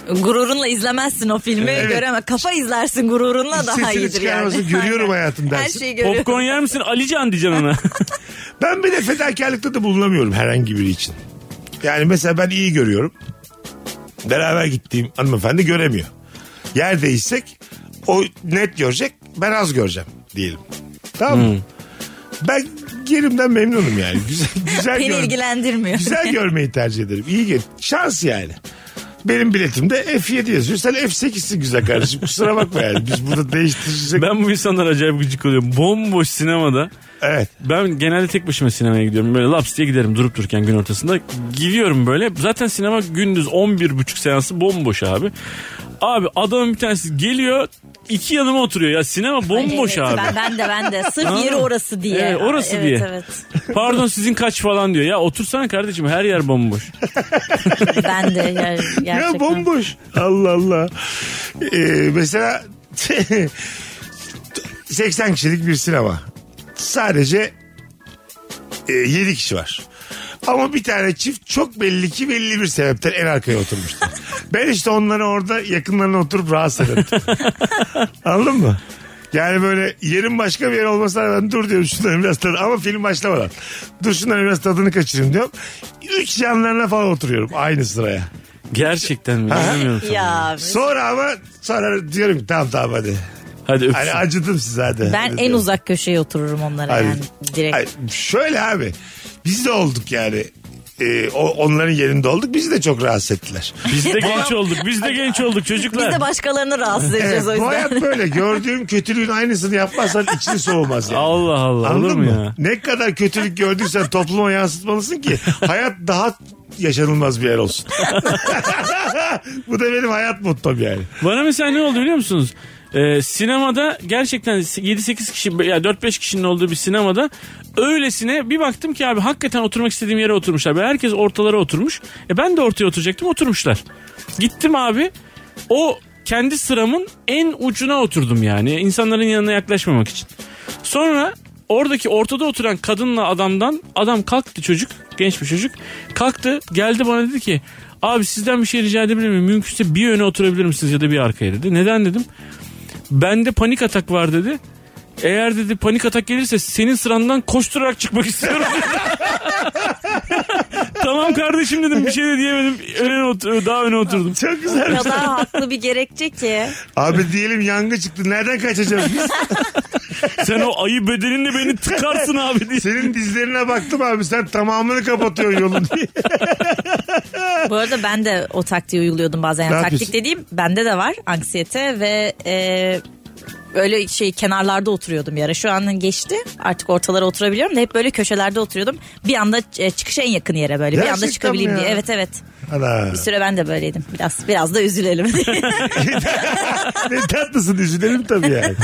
gururunla izlemezsin o filmi.
Evet.
Göreme kafa izlersin gururunla daha
Sesini
iyidir
çıkarmasın,
yani.
görüyorum hayatım
Her
dersin.
şeyi görüyorum.
Popcorn yer misin? Alican diyeceksin ona.
Ben bir de fedakarlıkta da bulunamıyorum herhangi biri için. Yani mesela ben iyi görüyorum. Beraber gittiğim hanımefendi göremiyor. Yer değişsek o net görecek ben az göreceğim diyelim. Tamam
Hmm.
mı? Ben yerimden memnunum yani. Güzel, güzel,
Beni
gör-
ilgilendirmiyor.
güzel görmeyi tercih ederim. İyi gör. Şans yani. Benim biletimde F7 yazıyor. Sen F8'sin güzel kardeşim. Kusura bakma yani. Biz burada değiştirecek.
ben bu insanlara acayip gıcık oluyorum. Bomboş sinemada.
Evet.
Ben genelde tek başıma sinemaya gidiyorum. Böyle laps diye giderim durup dururken gün ortasında. Gidiyorum böyle. Zaten sinema gündüz 11.30 seansı bomboş abi. Abi adamın bir tanesi geliyor iki yanıma oturuyor. Ya sinema bomboş
Evet,
abi.
Ben, ben de ben de. Sırf
Anladın
yeri
mı?
orası diye.
Evet, orası
evet,
diye.
Evet
Pardon sizin kaç falan diyor. Ya otursana kardeşim her yer bomboş.
Ben de ger- gerçekten.
Ya bomboş. Allah Allah. Ee, mesela 80 kişilik bir sinema. Sadece e, 7 kişi var. Ama bir tane çift çok belli ki belli bir sebepten en arkaya oturmuştu. ben işte onları orada yakınlarına oturup rahatsız ederim. Anladın mı? Yani böyle yerin başka bir yer olmasına rağmen dur diyorum şunların biraz tadını ama film başlamadan. Dur şunların biraz tadını kaçırayım diyorum. Üç yanlarına falan oturuyorum aynı sıraya.
Gerçekten mi? İnanamıyorum sana.
Ya
Sonra ama sonra diyorum ki tamam tamam hadi.
Hadi
Hani
öpsün.
acıdım size hadi.
ben
Hadi
en
diyorum.
uzak köşeye otururum onlara
Ay,
yani direkt.
ay, şöyle abi biz de olduk yani. Ee, o, onların yerinde olduk bizi de çok rahatsız ettiler.
Biz de
Hani-
genç olduk. Biz de genç olduk çocuklar.
Biz de başkalarını rahatsız edeceğiz
Evet,
o
bu
yüzden.
hayat böyle gördüğün kötülüğün aynısını yapmazsan için soğumaz yani.
Allah Allah olur
Anladın
mu
mı?
ya?
Ne kadar kötülük gördüysen topluma yansıtmalısın ki hayat daha yaşanılmaz bir yer olsun. bu da benim hayat mottom yani.
Bana mesela ne oldu biliyor musunuz? Ee, sinemada gerçekten 7-8 kişi ya 4-5 kişinin olduğu bir sinemada öylesine bir baktım ki abi hakikaten oturmak istediğim yere oturmuşlar. Böyle herkes ortalara oturmuş. E ben de ortaya oturacaktım oturmuşlar. Gittim abi o kendi sıramın en ucuna oturdum yani insanların yanına yaklaşmamak için. Sonra oradaki ortada oturan kadınla adamdan adam kalktı çocuk genç bir çocuk kalktı geldi bana dedi ki abi sizden bir şey rica edebilir miyim mümkünse bir öne oturabilir misiniz ya da bir arkaya dedi. Neden dedim. Bende panik atak var dedi. Eğer dedi panik atak gelirse senin sırandan koşturarak çıkmak istiyorum. tamam kardeşim dedim bir şey de diyemedim. Öne otur, daha öne oturdum.
Çok güzel.
O kadar haklı bir gerekçe ki.
Abi diyelim yangın çıktı. Nereden kaçacağız biz?
Sen o ayı bedeninle beni tıkarsın abi diye.
Senin dizlerine baktım abi. Sen tamamını kapatıyorsun yolun diye.
Bu arada ben de o taktiği uyguluyordum bazen. Yani
Ne
taktik
yapıyorsun?
dediğim bende de var anksiyete ve e, böyle şey kenarlarda oturuyordum bir ara. Şu an geçti artık ortalara oturabiliyorum da hep böyle köşelerde oturuyordum. Bir anda e, çıkışa en yakın yere böyle bir
Gerçekten
anda çıkabileyim
mi ya?
diye. Evet evet.
Ana.
Bir süre ben de böyleydim. Biraz biraz da üzülelim.
ne tatlısın üzülelim tabii yani.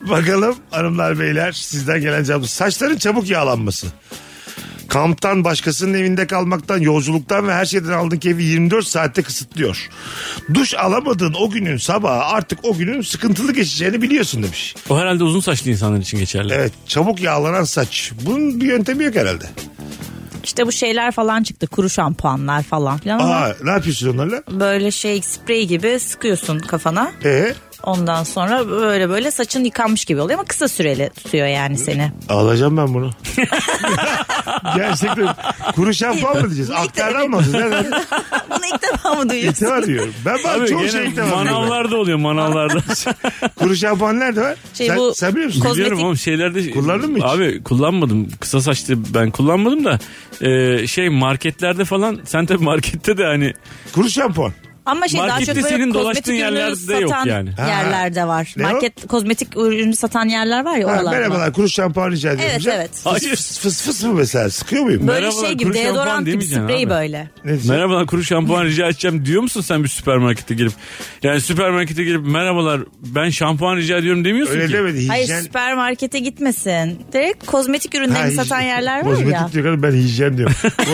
Bakalım hanımlar beyler sizden gelen cevap. Saçların çabuk yağlanması. Kamptan başkasının evinde kalmaktan, yolculuktan ve her şeyden aldığın keyfi 24 saatte kısıtlıyor. Duş alamadığın o günün sabahı artık o günün sıkıntılı geçeceğini biliyorsun demiş.
O herhalde uzun saçlı insanlar için geçerli.
Evet çabuk yağlanan saç. Bunun bir yöntemi yok herhalde.
işte bu şeyler falan çıktı. Kuru şampuanlar falan filan ama
Aa ne yapıyorsun onlarla?
böyle şey sprey gibi sıkıyorsun kafana.
Ee,
Ondan sonra böyle böyle saçın yıkanmış gibi oluyor ama kısa süreli tutuyor yani seni.
Alacağım ben bunu. Gerçekten kuru şampuan mı diyeceğiz? Aktardan mı alacağız? Nereden?
Bunu ilk defa mı duyuyorsun?
İtibar diyorum. Ben bana
Abi
çoğu
gene
şey itibar diyorum.
manavlarda oluyor manavlarda.
Kuru şampuan nerede var?
Şey
sen,
bu-
sen biliyor musun?
Koz-
Biliyorum
Kozmetik-
oğlum şeylerde...
Kullandın mı hiç?
Abi kullanmadım. Kısa saçlı ben kullanmadım da e, şey marketlerde falan sen tabii markette de hani
Kuru şampuan.
Ama şey daha çok
Markette
böyle
senin
kozmetik
dolaştığın
ürünleri
yerlerde yok
satan
yani.
Ha.
yerlerde var.
Ne o?
Market kozmetik ürünü satan yerler var ya
Ha,
oralarda.
merhabalar kuru şampuan rica ediyorum.
Evet,
hocam.
evet.
Fıs,
Hayır.
Fıs, fıs fıs mı mesela? Sıkıyor muyum?
Böyle
Merhabalar,
şey gibi
kuru şampuan
deodorant gibi
demeyeceksin
sprey
abi.
böyle.
Ne diyeceğim?
Merhabalar kuru şampuan rica edeceğim diyor musun sen bir süpermarkete girip? Yani süpermarkete girip merhabalar ben şampuan rica ediyorum demiyorsun
Öyle
ki.
demedi. Hijyen...
Hayır süpermarkete gitmesin. Direkt kozmetik
Ha,
ürünlerini
hijyen-
satan yerler var
Kozmetik
ya.
diyor kadın, ben hijyen diyorum.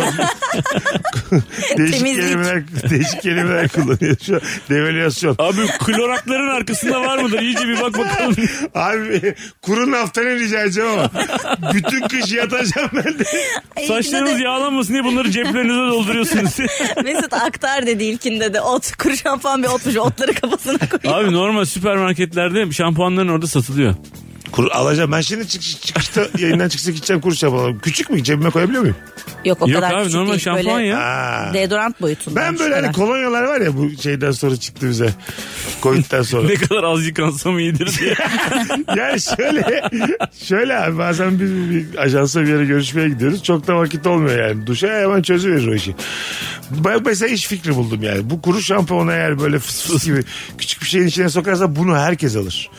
değişik,
Temizlik.
kelimeler, değişik kelimeler kullanıyor şu an. Devalüasyon.
Abi klorakların arkasında var mıdır? İyice bir bak bakalım.
Abi kuru naftalin rica edeceğim ama bütün kış yatacağım ben de.
Ay, ilkinde
Saçlarınız
E, de-
yağlanmasın diye bunları ceplerinize dolduruyorsunuz.
Mesut Aktar dedi ilkinde de ot kuru şampuan bir otmuş otları kafasına koyuyor.
Abi normal süpermarketlerde şampuanların orada satılıyor.
Kuru, alacağım ben şimdi çıkış, çıkışta yayından çıksa gideceğim kuru şampuan. Küçük mü cebime koyabiliyor muyum?
Yok o
Yok
kadar
abi
küçük
normal
değil.
şampuan
böyle
ya.
Aa.
Deodorant boyutunda.
Ben böyle hani kolonyalar var ya bu şeyden sonra çıktı bize. Covid'den sonra.
Ne kadar az yıkansam iyidir diye.
yani şöyle şöyle abi bazen biz bir ajansa bir yere görüşmeye gidiyoruz. Çok da vakit olmuyor yani. Duşa hemen çözüverir o işi. Ben mesela iş fikri buldum yani. Bu kuru şampuanı eğer böyle fıs fıs gibi küçük bir şeyin içine sokarsa bunu herkes alır.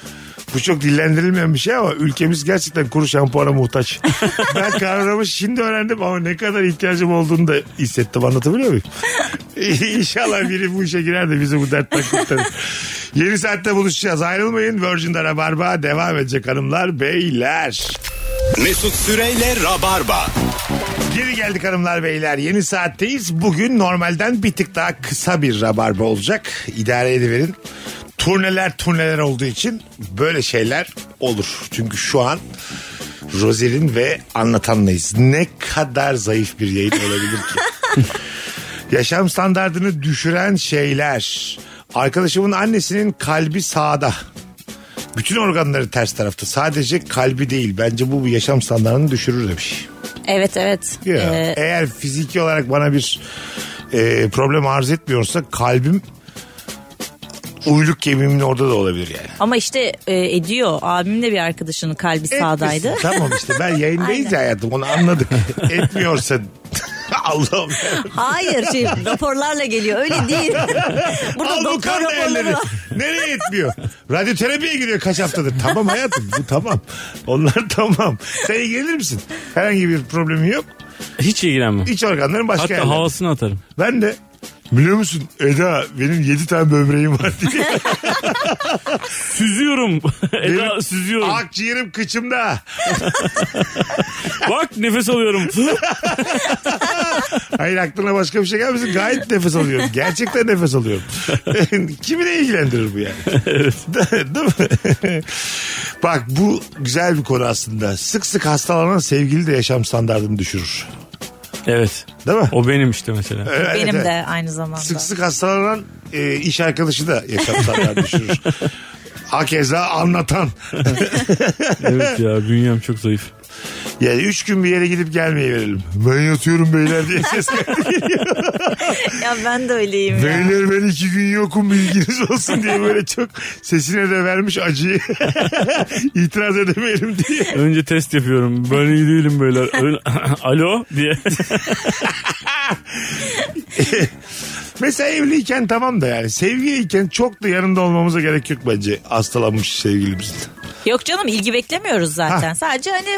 Bu çok dillendirilmeyen bir şey ama ülkemiz gerçekten kuru şampuana muhtaç. ben kavramı şimdi öğrendim ama ne kadar ihtiyacım olduğunu da hissettim anlatabiliyor muyum? İnşallah biri bu işe girer de bizi bu dertten kurtarır. Yeni saatte buluşacağız. Ayrılmayın. Virgin'de Rabarba devam edecek hanımlar beyler.
Mesut Süreyle Rabarba.
Geri geldik hanımlar beyler. Yeni saatteyiz. Bugün normalden bir tık daha kısa bir rabarba olacak. İdare ediverin. Turneler turneler olduğu için böyle şeyler olur. Çünkü şu an Rozer'in ve anlatanlayız. Ne kadar zayıf bir yayın olabilir ki? Yaşam standartını düşüren şeyler. Arkadaşımın annesinin kalbi sağda. Bütün organları ters tarafta. Sadece kalbi değil. Bence bu yaşam standartını düşürür demiş.
Evet evet.
Ya,
Ee,
Eğer fiziki olarak bana bir e, problem arz etmiyorsa kalbim uyluk kemiğimin orada da olabilir yani.
ama işte e, ediyor. Abim de bir arkadaşının kalbi sağdaydı.
Etmesin. Tamam işte ben yayındayız ya hayatım onu anladık. Etmiyorsa Allah'ım.
Hayır şey raporlarla geliyor öyle değil. Burada
Al bu
doktor
kan
raporları
değerleri.
var.
Nereye etmiyor? Radyoterapiye gidiyor kaç haftadır. Tamam hayatım bu tamam. Onlar tamam. Sen ilgilenir misin? Herhangi bir problemin yok.
Hiç ilgilenmem.
İç organların başka
Hatta
yerlerde.
havasını atarım.
Ben de biliyor musun Eda benim 7 tane böbreğim var diye.
Süzüyorum.
Benim
Eda süzüyorum.
Akciğerim kıçımda.
Bak nefes alıyorum.
Hayır aklına başka bir şey gelmesin. Gayet nefes alıyorum. Gerçekten nefes alıyorum. Kimine ilgilendirir bu yani? De- Değil mi? Bak bu güzel bir konu aslında. Sık sık hastalanan sevgili de yaşam standartını düşürür.
evet.
Değil mi?
O benim işte mesela.
Evet,
Benim
evet.
de aynı zamanda.
Sık sık hastalanan e, iş arkadaşı da yaşam standartını düşürür. Akeza anlatan.
Evet ya bünyem çok zayıf.
Yani üç gün bir yere gidip gelmeye verelim. Ben yatıyorum beyler diye ses
Ya ben de öyleyim ya.
Beyler ben iki gün yokum bilginiz olsun diye böyle çok sesine de vermiş acıyı. İtiraz edemeyelim diye.
Önce test yapıyorum. Ben iyi değilim böyle. Öyle- Alo diye.
Mesela evliyken tamam da yani sevgiliyken çok da yanında olmamıza gerek yok bence hastalanmış sevgilimizin.
Yok canım ilgi beklemiyoruz zaten. Sadece hani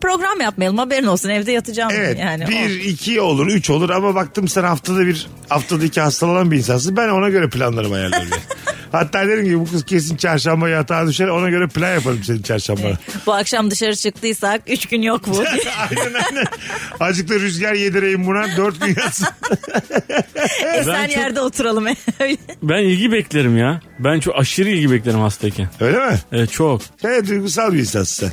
program yapmayalım haberin olsun evde yatacağım
Evet
yani.
bir iki olur üç olur ama baktım sen haftada bir haftada iki hastalanan bir insansın ben ona göre planlarımı ayarlarım. yani. Hatta derim ki bu kız kesin çarşamba yatağa düşer ona göre plan yaparım senin çarşambana.
Bu akşam dışarı çıktıysak 3 gün yok bu.
aynen aynen. Azıcık da rüzgar yedireyim buna dört gün yatsın.
Esen
çok-
yerde oturalım. Öyle.
Ben ilgi beklerim ya. Ben çok aşırı ilgi beklerim hastayken.
Öyle mi?
Evet çok.
Sen de duygusal bir insansın sen.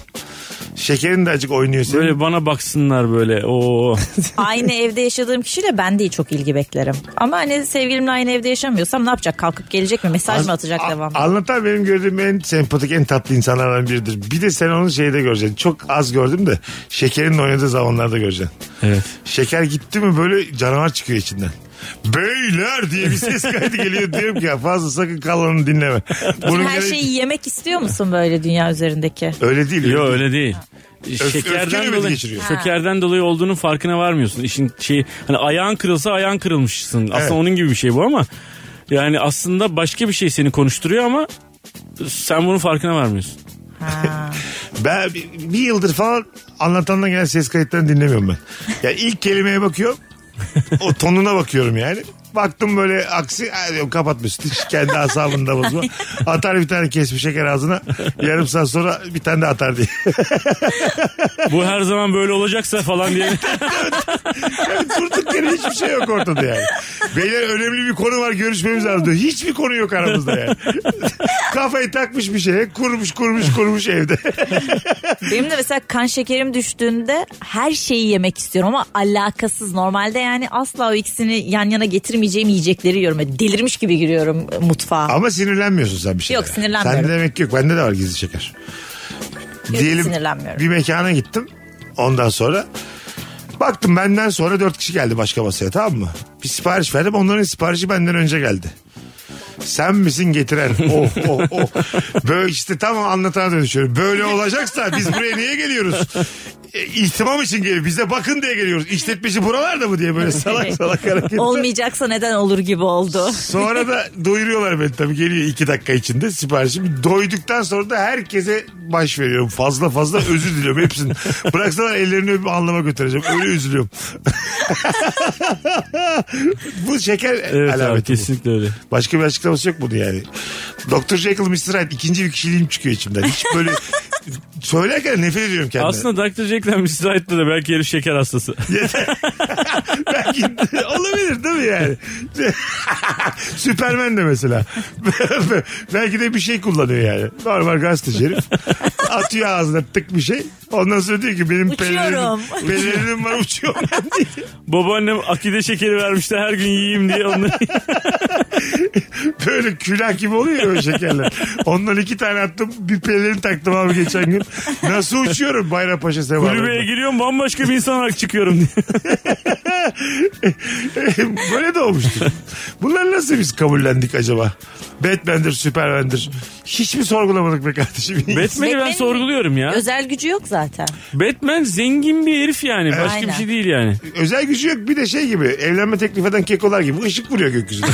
Şekerin de acık oynuyor senin.
Böyle bana baksınlar böyle. Oo.
aynı evde yaşadığım kişiyle ben de çok ilgi beklerim. Ama hani sevgilimle aynı evde yaşamıyorsam ne yapacak? Kalkıp gelecek mi? Mesaj mı atacak
A-
devam?
Anlatan benim gördüğüm en sempatik en tatlı insanlardan biridir. Bir de sen onu şeyde göreceksin. Çok az gördüm de şekerin oynadığı zamanlarda göreceksin.
Evet.
Şeker gitti mi böyle canavar çıkıyor içinden. Beyler diye bir ses kaydı geliyor. Diyorum ki ya fazla sakın kalanını dinleme. Bunun
Her
gerek-
şeyi yemek istiyor musun böyle dünya üzerindeki?
Öyle değil.
Yok öyle değil.
öfkeyle mi
Şekerden dolayı,
geçiriyor?
şekerden dolayı olduğunun farkına varmıyorsun. İşin şeyi hani ayağın kırılsa ayağın kırılmışsın. Aslında
Evet.
onun gibi bir şey bu ama yani aslında başka bir şey seni konuşturuyor ama sen bunun farkına varmıyorsun.
Ben bir- bir yıldır falan anlatandan gelen ses kayıtlarını dinlemiyorum ben. Yani ilk kelimeye bakıyorum. o tonuna bakıyorum yani. Baktım böyle aksi "Ay," diyorum, kapatmışsın. Hiç kendi asabında bozma. Atar bir tane kesmiş şeker ağzına. Yarım saat sonra bir tane de atar diye.
Bu her zaman böyle olacaksa falan diye.
Durduk yere hiçbir şey yok ortada yani. Beyler önemli bir konu var görüşmemiz lazım diyor. Hiçbir konu yok aramızda yani. Kafayı takmış bir şeye kurmuş kurmuş kurmuş evde.
Benim de mesela kan şekerim düştüğünde her şeyi yemek istiyorum ama alakasız. Normalde yani asla o ikisini yan yana getirmeyeceğim yiyecekleri yiyorum. Böyle Delirmiş gibi giriyorum e, mutfağa.
Ama sinirlenmiyorsun sen bir şey.
Yok, sinirlenmiyorum.
Sende demek ki yok. Bende de var gizli şeker. Diyelim
sinirlenmiyorum.
bir mekana gittim. Ondan sonra baktım benden sonra dört kişi geldi başka masaya tamam mı? Bir sipariş verdim onların siparişi benden önce geldi. Sen misin getiren? Oh oh oh. Böyle işte tam anlatana dönüşüyorum. Böyle olacaksa biz buraya niye geliyoruz? E, ihtimam için geliyoruz. Bize bakın diye geliyoruz. İşletmeci buralarda mı diye böyle salak salak hareketler.
Olmayacaksa neden olur gibi oldu.
Sonra da doyuruyorlar beni tabii geliyor iki dakika içinde siparişim. Doyduktan sonra da herkese baş veriyorum. Fazla fazla özür diliyorum hepsini. Bıraksalar ellerini öpüp anlama götüreceğim. Öyle üzülüyorum. bu şeker
evet abi
alameti bu.
kesinlikle öyle.
Başka bir açıklaması yok bunun yani. Doktor Jekyll Mr. Hyde ikinci bir kişiliğim çıkıyor içimden. Hiç böyle söylerken nefret ediyorum kendime.
Aslında Dr. Jekyll and Mr. Hyde'da da belki herif şeker hastası.
Belki olabilir değil mi yani? Süpermen de mesela. Belki de bir şey kullanıyor yani. Normal gazeteci herif. Atıyor ağzına tık bir şey. Ondan sonra diyor ki benim
Uçuyorum.
pelerinim, pelerinim var uçuyorum.
Babaannem akide şekeri vermişti her gün yiyeyim diye. Onu...
Böyle külah gibi oluyor ya o şekerler. Ondan iki tane attım. Bir pelerin taktım abi geçen gün. Nasıl uçuyorum Bayrampaşa
Kulübeye
sevalarında.
giriyorum bambaşka bir insan olarak çıkıyorum diye.
Böyle de olmuştur. Bunlar nasıl biz kabullendik acaba? Batman'dir, Superman'dir. Hiç mi sorgulamadık be kardeşim?
Batman'i ben
Batman'in
sorguluyorum ya.
Özel gücü yok zaten.
Batman zengin bir herif yani. Başka bir
Aynen.
şey değil yani.
Özel gücü yok bir de şey gibi evlenme teklif eden kekolar gibi ışık vuruyor gökyüzüne.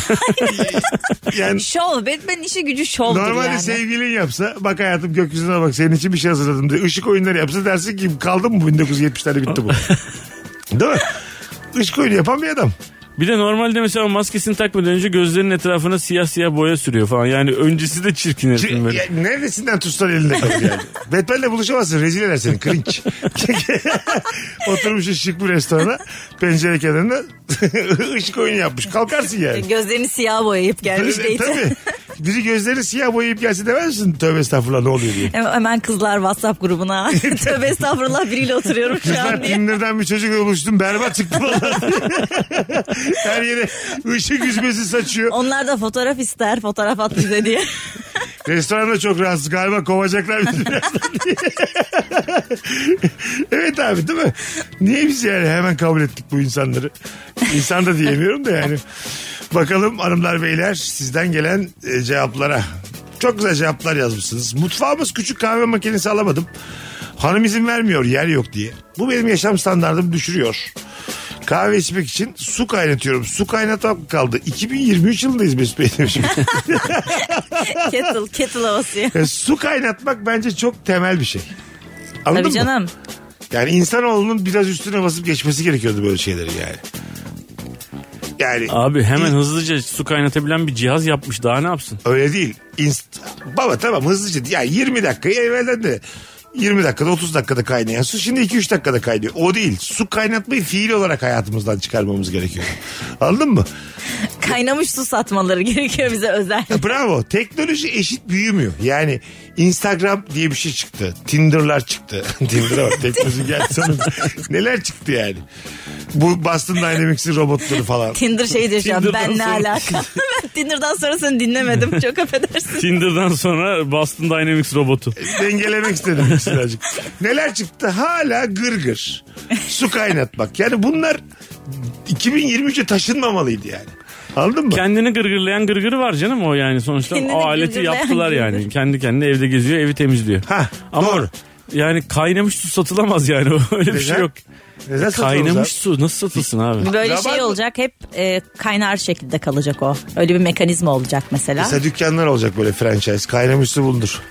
yani
Şov. Batman'in işi gücü şovdur
normalde şey-
yani.
sevgilin yapsa bak hayatım gökyüzüne bak senin için bir şey hazırladım diye ışık oyunları yapsa dersin ki kaldı mı bu 1970'lerde bitti bu. Değil mi? Işık oyunu yapan bir adam.
Bir de normalde mesela maskesini takmadan önce gözlerinin etrafına siyah siyah boya sürüyor falan. Yani öncesi de çirkin herifin
Ç-
böyle.
ya, neresinden tutsan elinde kalır yani. Batman'le buluşamazsın rezil eder seni cringe. Oturmuş şık bir restorana pencere kenarında ışık oyunu yapmış kalkarsın yani.
Gözlerini siyah boyayıp gelmiş
Tabii,
date.
tabii. Biri gözlerini siyah boyayıp gelse demez misin tövbe estağfurullah ne oluyor diye.
Hem- Hemen kızlar WhatsApp grubuna. Tövbe estağfurullah biriyle oturuyorum şu
Ben
an diye.
Tinder'dan bir çocukla buluştum berbat çıktı valla. Her yere ışık yüzmesi saçıyor.
Onlar da fotoğraf ister fotoğraf at bize diye.
Restoranda çok rahatsız. Galiba kovacaklar bizi birazdan diye. evet abi değil mi? Niye biz yani hemen kabul ettik bu insanları? İnsan da diyemiyorum da yani. Bakalım hanımlar beyler sizden gelen e, cevaplara. Çok güzel cevaplar yazmışsınız. Mutfağımız küçük kahve makinesi alamadım. Hanım izin vermiyor yer yok diye. Bu benim yaşam standartımı düşürüyor. Kahve içmek için su kaynatıyorum. Su kaynatmak kaldı. 2023 yılındayız Mesut Bey demişim.
kettle, kettle havası ya.
E, su kaynatmak bence çok temel bir şey. Anladın
Tabii
mı?
canım.
Yani insanoğlunun biraz üstüne basıp geçmesi gerekiyordu böyle şeyleri yani. Yani
Abi hemen hızlıca su kaynatabilen bir cihaz yapmış. Daha ne yapsın?
öyle değil. İnst- Baba tamam hızlıca. Yani 20 dakikayı evvelden de 20 dakikada 30 dakikada kaynayan su şimdi 2-3 dakikada kaynıyor. O değil. Su kaynatmayı fiil olarak hayatımızdan çıkarmamız gerekiyor. Anladın mı?
Kaynamış su satmaları gerekiyor bize özel.
Bravo. Teknoloji eşit büyümüyor. Yani Instagram diye bir şey çıktı. Tinder'lar çıktı. Tinder'a bak teknoloji geldi sonunda. Neler çıktı yani. Bu Boston Dynamics'in robotları falan.
Tinder şeydir şu an.
Tinder'dan
Ben ne
sonra-
alaka? ben Tinder'dan sonrasını dinlemedim. Çok affedersin.
Tinder'dan sonra Boston Dynamics robotu.
Dengelemek istedim ikisini azıcık. Neler çıktı? Hala gırgır. Su kaynatmak. Yani bunlar 2023'e taşınmamalıydı yani. Anladın mı?
Kendini gırgırlayan gırgırı var canım o yani sonuçta.
Kendini
o aleti
gırgırlayan
yaptılar yani.
gırgır.
Kendi kendine evde geziyor, evi temizliyor.
Ha,
Ama
doğru.
yani kaynamış su satılamaz yani. Öyle bir şey
Neden?
yok.
Neden satıyoruz
Kaynamış
abi?
su nasıl satılsın abi?
Böyle
Rabarba-
şey olacak hep e, kaynar şekilde kalacak o. Öyle bir mekanizma olacak mesela.
Mesela dükkanlar olacak böyle franchise. Kaynamış su bulunur.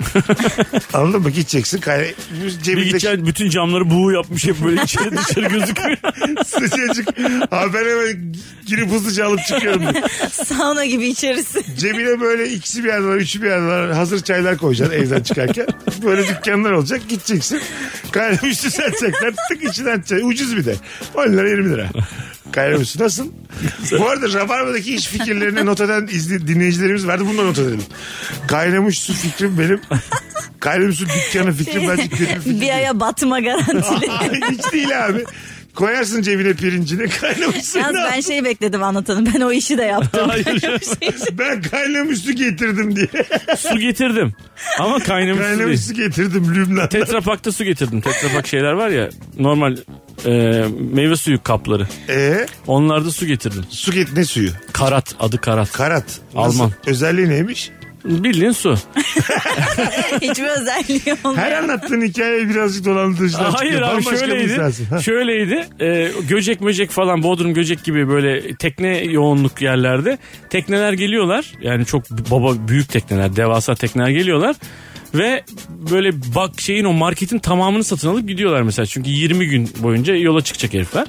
Anladın mı? Gideceksin. Kayna...
Bir
Cebinde
gideceksin bütün camları buğu yapmış hep böyle içeri dışarı gözükmüyor.
Sıcacık. Ha ben hemen girip hızlıca alıp çıkıyorum.
Sauna gibi içerisi.
Cebine böyle ikisi bir yerde var, üçü bir yerde var. Hazır çaylar koyacaksın evden çıkarken. Böyle dükkanlar olacak. Gideceksin. Kaynamış su satacaklar. Tık içinden çay. Ucuz bir de. 10 lira 20 lira. Kaynamış su nasıl? Bu arada Rabarba'daki iş fikirlerini not eden izli, dinleyicilerimiz vardı. Bunu da not edelim. Kaynamış su fikrim benim. Kaynamış su dükkanı fikrim bence kötü bir fikir.
bir aya batma garantili.
Hiç değil abi. Koyarsın cebine pirincini kaynamış suyunu
Yalnız ben şeyi bekledim anlatanın. Ben o işi de yaptım.
Hayır.
Ben kaynamış su getirdim diye.
su getirdim. Ama kaynamış, su
Kaynamış
değil.
su getirdim Lübnan.
Tetra Pak'ta su getirdim. Tetra Pak şeyler var ya normal e, meyve suyu kapları.
Ee,
Onlarda su getirdim.
su get ne suyu?
Karat adı karat.
Karat. Nasıl?
Alman.
Özelliği neymiş?
Bildiğin su.
Hiçbir özelliği olmuyor.
Her anlattığın hikaye birazcık dolandırıcıdan
Hayır
çıkıyor.
abi
Bambaşka bir insansın. Ha.
şöyleydi. Şöyleydi. E, göcek möcek falan Bodrum göcek gibi böyle tekne yoğunluk yerlerde tekneler geliyorlar. Yani çok baba büyük tekneler, devasa tekneler geliyorlar. Ve böyle bak şeyin o marketin tamamını satın alıp gidiyorlar mesela. Çünkü 20 gün boyunca yola çıkacak herifler.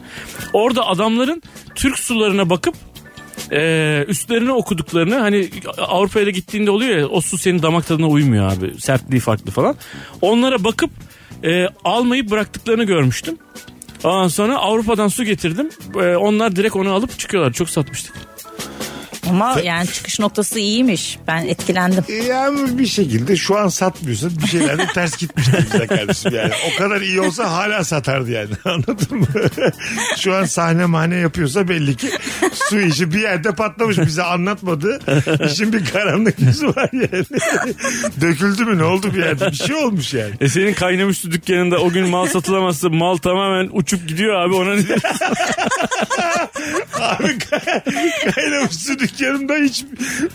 Orada adamların Türk sularına bakıp e, üstlerine okuduklarını hani Avrupa'ya da gittiğinde oluyor ya o su senin damak tadına uymuyor abi. Sertliği farklı falan. Onlara bakıp e, almayı bıraktıklarını görmüştüm. Ondan sonra Avrupa'dan su getirdim. E, onlar direkt onu alıp çıkıyorlar. Çok satmıştık.
Ama yani çıkış noktası iyiymiş. Ben etkilendim.
Yani bir şekilde şu an satmıyorsun. Bir şeyler de ters gitmiştir bize kardeşim yani. O kadar iyi olsa hala satardı yani. Anladın mı? şu an sahne mahne yapıyorsa belli ki su işi bir yerde patlamış. Bize anlatmadı. İşin bir karanlık yüzü var yani. Döküldü mü ne oldu bir yerde? Bir şey olmuş yani.
E senin kaynamış su dükkanında o gün mal satılamazsa mal tamamen uçup gidiyor abi ona ne
Abi kay- kaynamış su dükkanında hiç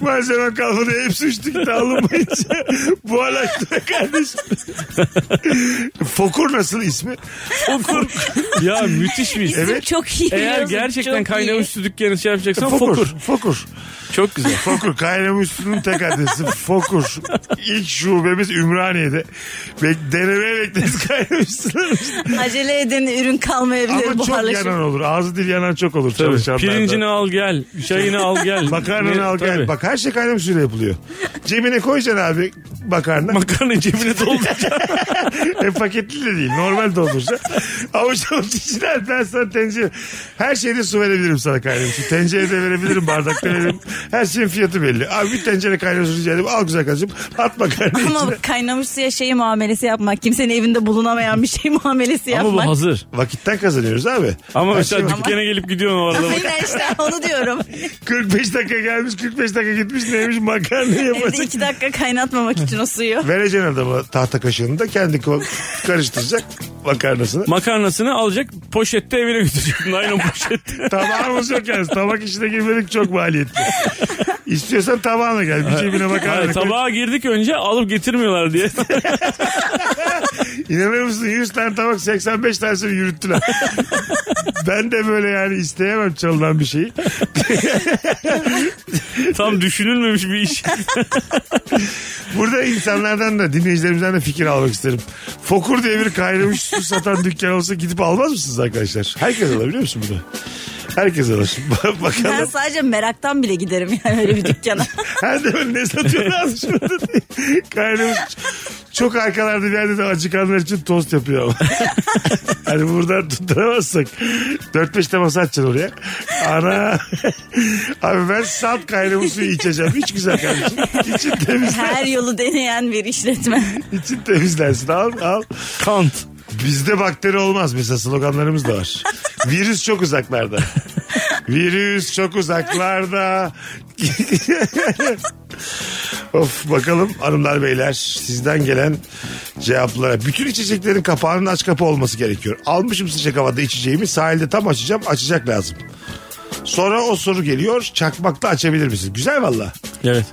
malzeme kalmadı. Hepsi üç dükte alınmayınca bu alaştı kardeşim. Fokur nasıl ismi?
fokur. ya müthiş bir iş.
İsim
Evet.
çok iyi.
Eğer
yazın,
gerçekten
çok
kaynamış
iyi.
su dükkanı şey yapacaksan fokur.
Fokur. Fokur.
Çok güzel.
Fokur. Kaynamış sunun tek adresi Fokur. İlk şubemiz Ümraniye'de. Bek denemeye bekleriz kaynamış sunun.
Acele edin ürün kalmayabilir
Ama çok
buharlaşıp.
yanan olur. Ağzı dil yanan çok olur
Tabii.
çalışanlarda.
Pirincini al gel. Çayını al gel. Ne-
Makarnanı al gel.
tabii.
Bak her şey kaynamış suyla yapılıyor. Cebine koyacaksın abi makarna.
Makarna cebine dolduracak.
e paketli de değil. Normal doldursa. Avuç avuç içine at. ben sana tencere. Her şeyde su verebilirim sana kardeşim. Tencerede verebilirim. Bardakta verebilirim. Her şeyin fiyatı belli. Abi bir tencere kaynar su rica edeyim. Al güzel kardeşim. At makarnayı
Ama
içine.
bak, kaynamış suya şey muamelesi yapmak. Kimsenin evinde bulunamayan bir şey muamelesi
Ama bu
yapmak.
hazır.
Vakitten kazanıyoruz abi.
Ama
Her
mesela
şey-
dükkana gelip gidiyorsun o arada.
Aynen işte onu diyorum.
45 dakika gelmiş 45 dakika gitmiş neymiş makarna
Evde
yapacak.
iki dakika kaynatmamak için o suyu.
Vereceksin adama tahta kaşığını da kendi ko- karıştıracak makarnasını.
Makarnasını alacak poşette evine götürecek. Naylon poşette.
Tabağımız yok yalnız. Tabak işine girmedik çok maliyetli. İstiyorsan tabağına gel. Bir cebine makarna
Hayır,
koy.
tabağa girdik önce alıp getirmiyorlar diye.
İnanır mısın 100 tane tabak 85 tanesini yürüttüler. ben de böyle yani isteyemem çalınan bir şeyi.
Tam düşünülmemiş bir iş.
Burada insanlardan da dinleyicilerimizden de fikir almak isterim. Fokur diye bir kaynamış su satan dükkan olsa gidip almaz mısınız arkadaşlar? Herkes alabiliyor musun bunu? Herkes alır. Bak-
Ben
Bakalım.
sadece meraktan bile giderim yani öyle bir dükkana.
Her de böyle ne satıyorlar şurada diye. Kaynamış. Çok arkalarda bir yerde de acıkanlar için tost yapıyor ama. hani buradan tutturamazsak. 4-5 temas atacaksın oraya. Ana. Abi ben salt kaynamış suyu içeceğim. Hiç güzel kardeşim. İçin temizlen.
Her yolu deneyen bir işletme.
İçin temizlensin. Al al.
Kant.
Bizde bakteri olmaz mesela sloganlarımız da var. Virüs çok uzaklarda. Virüs çok uzaklarda. of bakalım hanımlar beyler sizden gelen cevaplara. Bütün içeceklerin kapağının aç kapı olması gerekiyor. Almışım sıcak havada içeceğimi sahilde tam açacağım açacak lazım. Sonra o soru geliyor çakmakla açabilir misin? Güzel valla
Evet.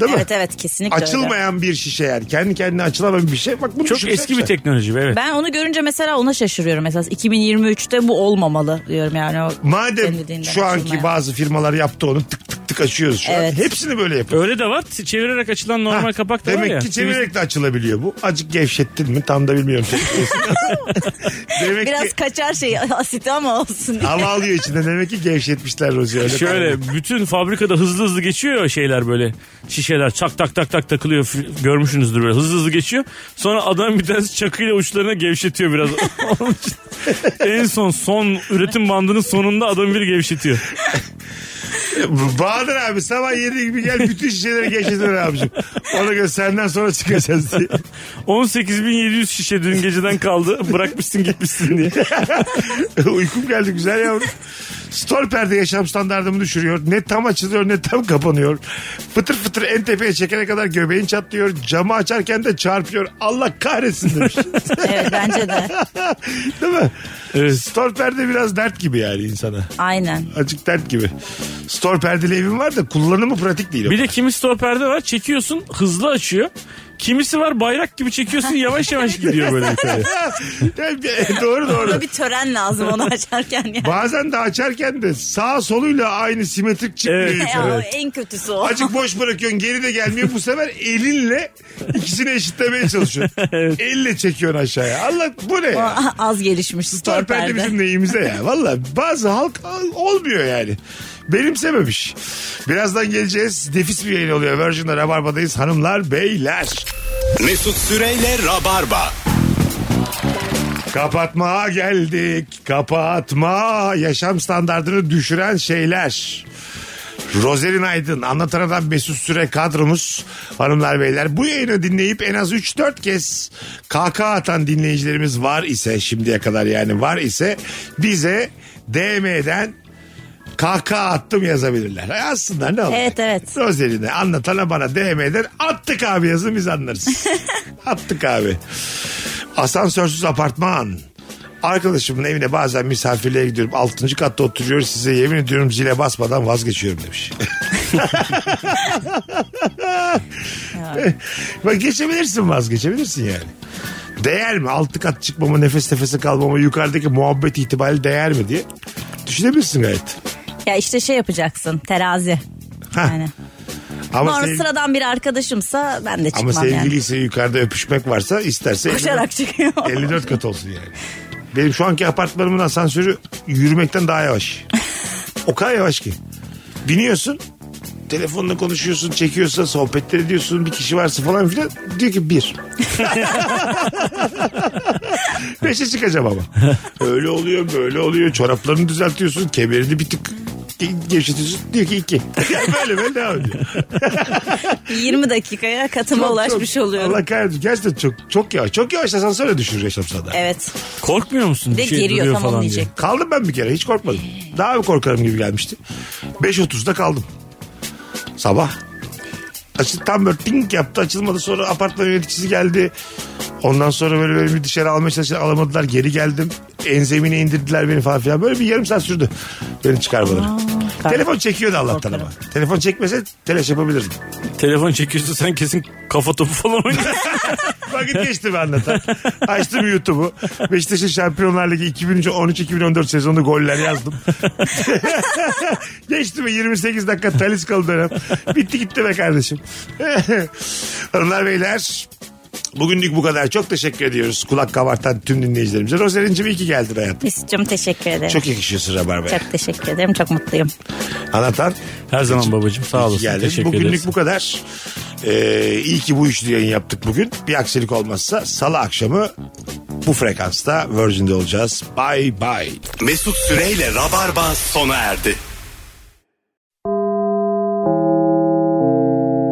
değil mi?
Evet evet kesinlikle öyle.
Açılmayan bir şişe yani kendi kendine açılamayan bir şey. Bak bunu
Çok
düşünsene
eski bir
sen.
teknoloji be, evet.
Ben onu görünce mesela ona şaşırıyorum mesela 2023'te bu olmamalı diyorum yani. O
Madem
denildiğinden
şu anki
açılmayan.
bazı firmalar yaptı onu tık tık tık açıyoruz şu
Evet.
an. Hepsini böyle yapıyor.
Öyle de var. Çevirerek açılan normal
Ha,
kapak da var
Demek
ya.
ki çevirerek de açılabiliyor bu. Acık gevşettin mi tam da bilmiyorum. demek
Biraz
ki
kaçar şey asiti ama olsun.
hava alıyor içinde. Demek ki gevşetmişler Rozi. Öyle tamam.
Şöyle bütün fabrikada hızlı hızlı geçiyor ya şeyler böyle şişeler çak tak tak tak takılıyor F- görmüşsünüzdür böyle hızlı hızlı geçiyor. Sonra adam bir tanesi çakıyla uçlarına gevşetiyor biraz. Onun için en son son üretim bandının sonunda adam bir gevşetiyor.
Bahadır abi sabah 7 gibi gel bütün şişeleri gevşetir abicim. Ona göre senden sonra çıkacağız diye.
18.700 şişe dün geceden kaldı bırakmışsın gitmişsin diye.
Uykum geldi güzel yavrum. Stolper'de yaşam standartımı düşürüyor. Ne tam açılıyor ne tam kapanıyor. Fıtır fıtır en tepeye çekene kadar göbeğin çatlıyor. Camı açarken de çarpıyor. Allah kahretsin demiş.
evet bence de
Değil mi?
Evet.
Stolper'de biraz dert gibi yani insana.
aynen.
Acık dert gibi. Stolper'deli evim var da kullanımı pratik değil.
Bir de kimisi torperde var çekiyorsun hızlı açıyor. Kimisi var bayrak gibi çekiyorsun yavaş yavaş gidiyor böyle yukarı.
Yani bir- doğru doğru.
Buna bir tören lazım onu açarken yani.
Bazen de açarken de sağ soluyla aynı simetrik çıkmıyor
Evet.
Ya,
yukarı.
o en kötüsü o.
Acık boş bırakıyorsun geri de gelmiyor. Bu sefer elinle ikisini eşitlemeye çalışıyorsun. Elle çekiyorsun aşağıya. Allah bu ne ya?
A- Az gelişmiş
Torperde
stoperde.
bizim neyimize ya. Valla bazı halk al- olmuyor yani. Benimsememiş. Birazdan geleceğiz. Nefis bir yayın oluyor. Virgin'de Rabarba'dayız hanımlar beyler.
Mesut Süreyle Rabarba.
Kapatma geldik. Kapatma. Yaşam standartını düşüren şeyler. Rozerin Aydın, Anlatan Adam Mesut Süre kadromuz hanımlar beyler. Bu yayını dinleyip en az 3-4 kez kahkaha atan dinleyicilerimiz var ise şimdiye kadar yani var ise bize DM'den kahkaha attım yazabilirler. E Aslında ne olur.
Evet, evet.
Rozerin'e anlatana bana DM'den attık abi yazın biz anlarız. attık abi. Asansörsüz apartman. Arkadaşımın evine bazen misafirliğe gidiyorum. Altıncı katta oturuyor size yemin ediyorum zile basmadan vazgeçiyorum demiş. Bak geçebilirsin vazgeçebilirsin yani. Değer mi? Altı kat çıkmama, nefes nefese kalmama, yukarıdaki muhabbet itibariyle değer mi diye düşünebilirsin gayet.
Ya işte şey yapacaksın terazi.
Ha,
Yani.
ama
Normal
sev-
sıradan bir arkadaşımsa ben de
ama
çıkmam yani.
sevgiliyse yukarıda öpüşmek varsa isterse
Koşarak çıkıyor.
54 kat olsun yani. Benim şu anki apartmanımın asansörü yürümekten daha yavaş. O kadar yavaş ki. Biniyorsun telefonla konuşuyorsun çekiyorsa sohbetler ediyorsun bir kişi varsa falan filan diyor ki bir. Beşe çıkacağım ama. Öyle oluyor böyle oluyor çoraplarını düzeltiyorsun kemerini bir tık ge- gevşetiyorsun. Diyor ki iki. Yani böyle böyle devam ediyor.
20 dakikaya katıma
Çok-
ulaşmış
çok-
oluyorum.
Allah kahretsin. Gerçekten çok çok yavaş. Çok yavaş asansöre düşürür yaşam sana.
Evet.
Korkmuyor musun?
Ve
Bir şey
geliyor
duruyor
tam onu
falan diye.
diyecek.
Kaldım ben bir kere hiç korkmadım. Daha mı korkarım gibi gelmişti. 5.30'da kaldım. Sabah. Açıl, tam böyle ting yaptı açılmadı sonra apartman yöneticisi geldi. Ondan sonra böyle beni bir dışarı almaya çalıştılar alamadılar geri geldim. Enzemine indirdiler beni falan filan böyle bir yarım saat sürdü beni çıkarmaları. Telefon çekiyordu Allah'tan ama. Telefon çekmese telaş yapabilirdim.
Telefon çekiyorsa sen kesin kafa topu falan oynuyorsun.
Vakit geçti be anlatan. Açtım YouTube'u. Beşiktaş'ın Şampiyonlar Ligi 2013-2014 sezonunda goller yazdım. geçti mi 28 dakika Taliskalı dönem. Bitti gitti be kardeşim. Hanımlar beyler Bugünlük bu kadar. Çok teşekkür ediyoruz kulak kabartan tüm dinleyicilerimize. Rozerin'cim iyi ki geldin hayatım.
Mesut'cum teşekkür ederim. Çok,
Çok yakışıyorsun Rabarba'ya.
teşekkür ederim. Çok mutluyum.
Anlatan
Her zaman babacığım
İyi
sağ
ki
olasın.
geldin.
Teşekkür
Bugünlük
ederiz.
bu kadar. Ee, iyi ki bu üçlü yayın yaptık bugün. Bir aksilik olmazsa salı akşamı bu frekansta Virgin'de olacağız. Bye bye.
Mesut Süreyle Rabarba sona erdi.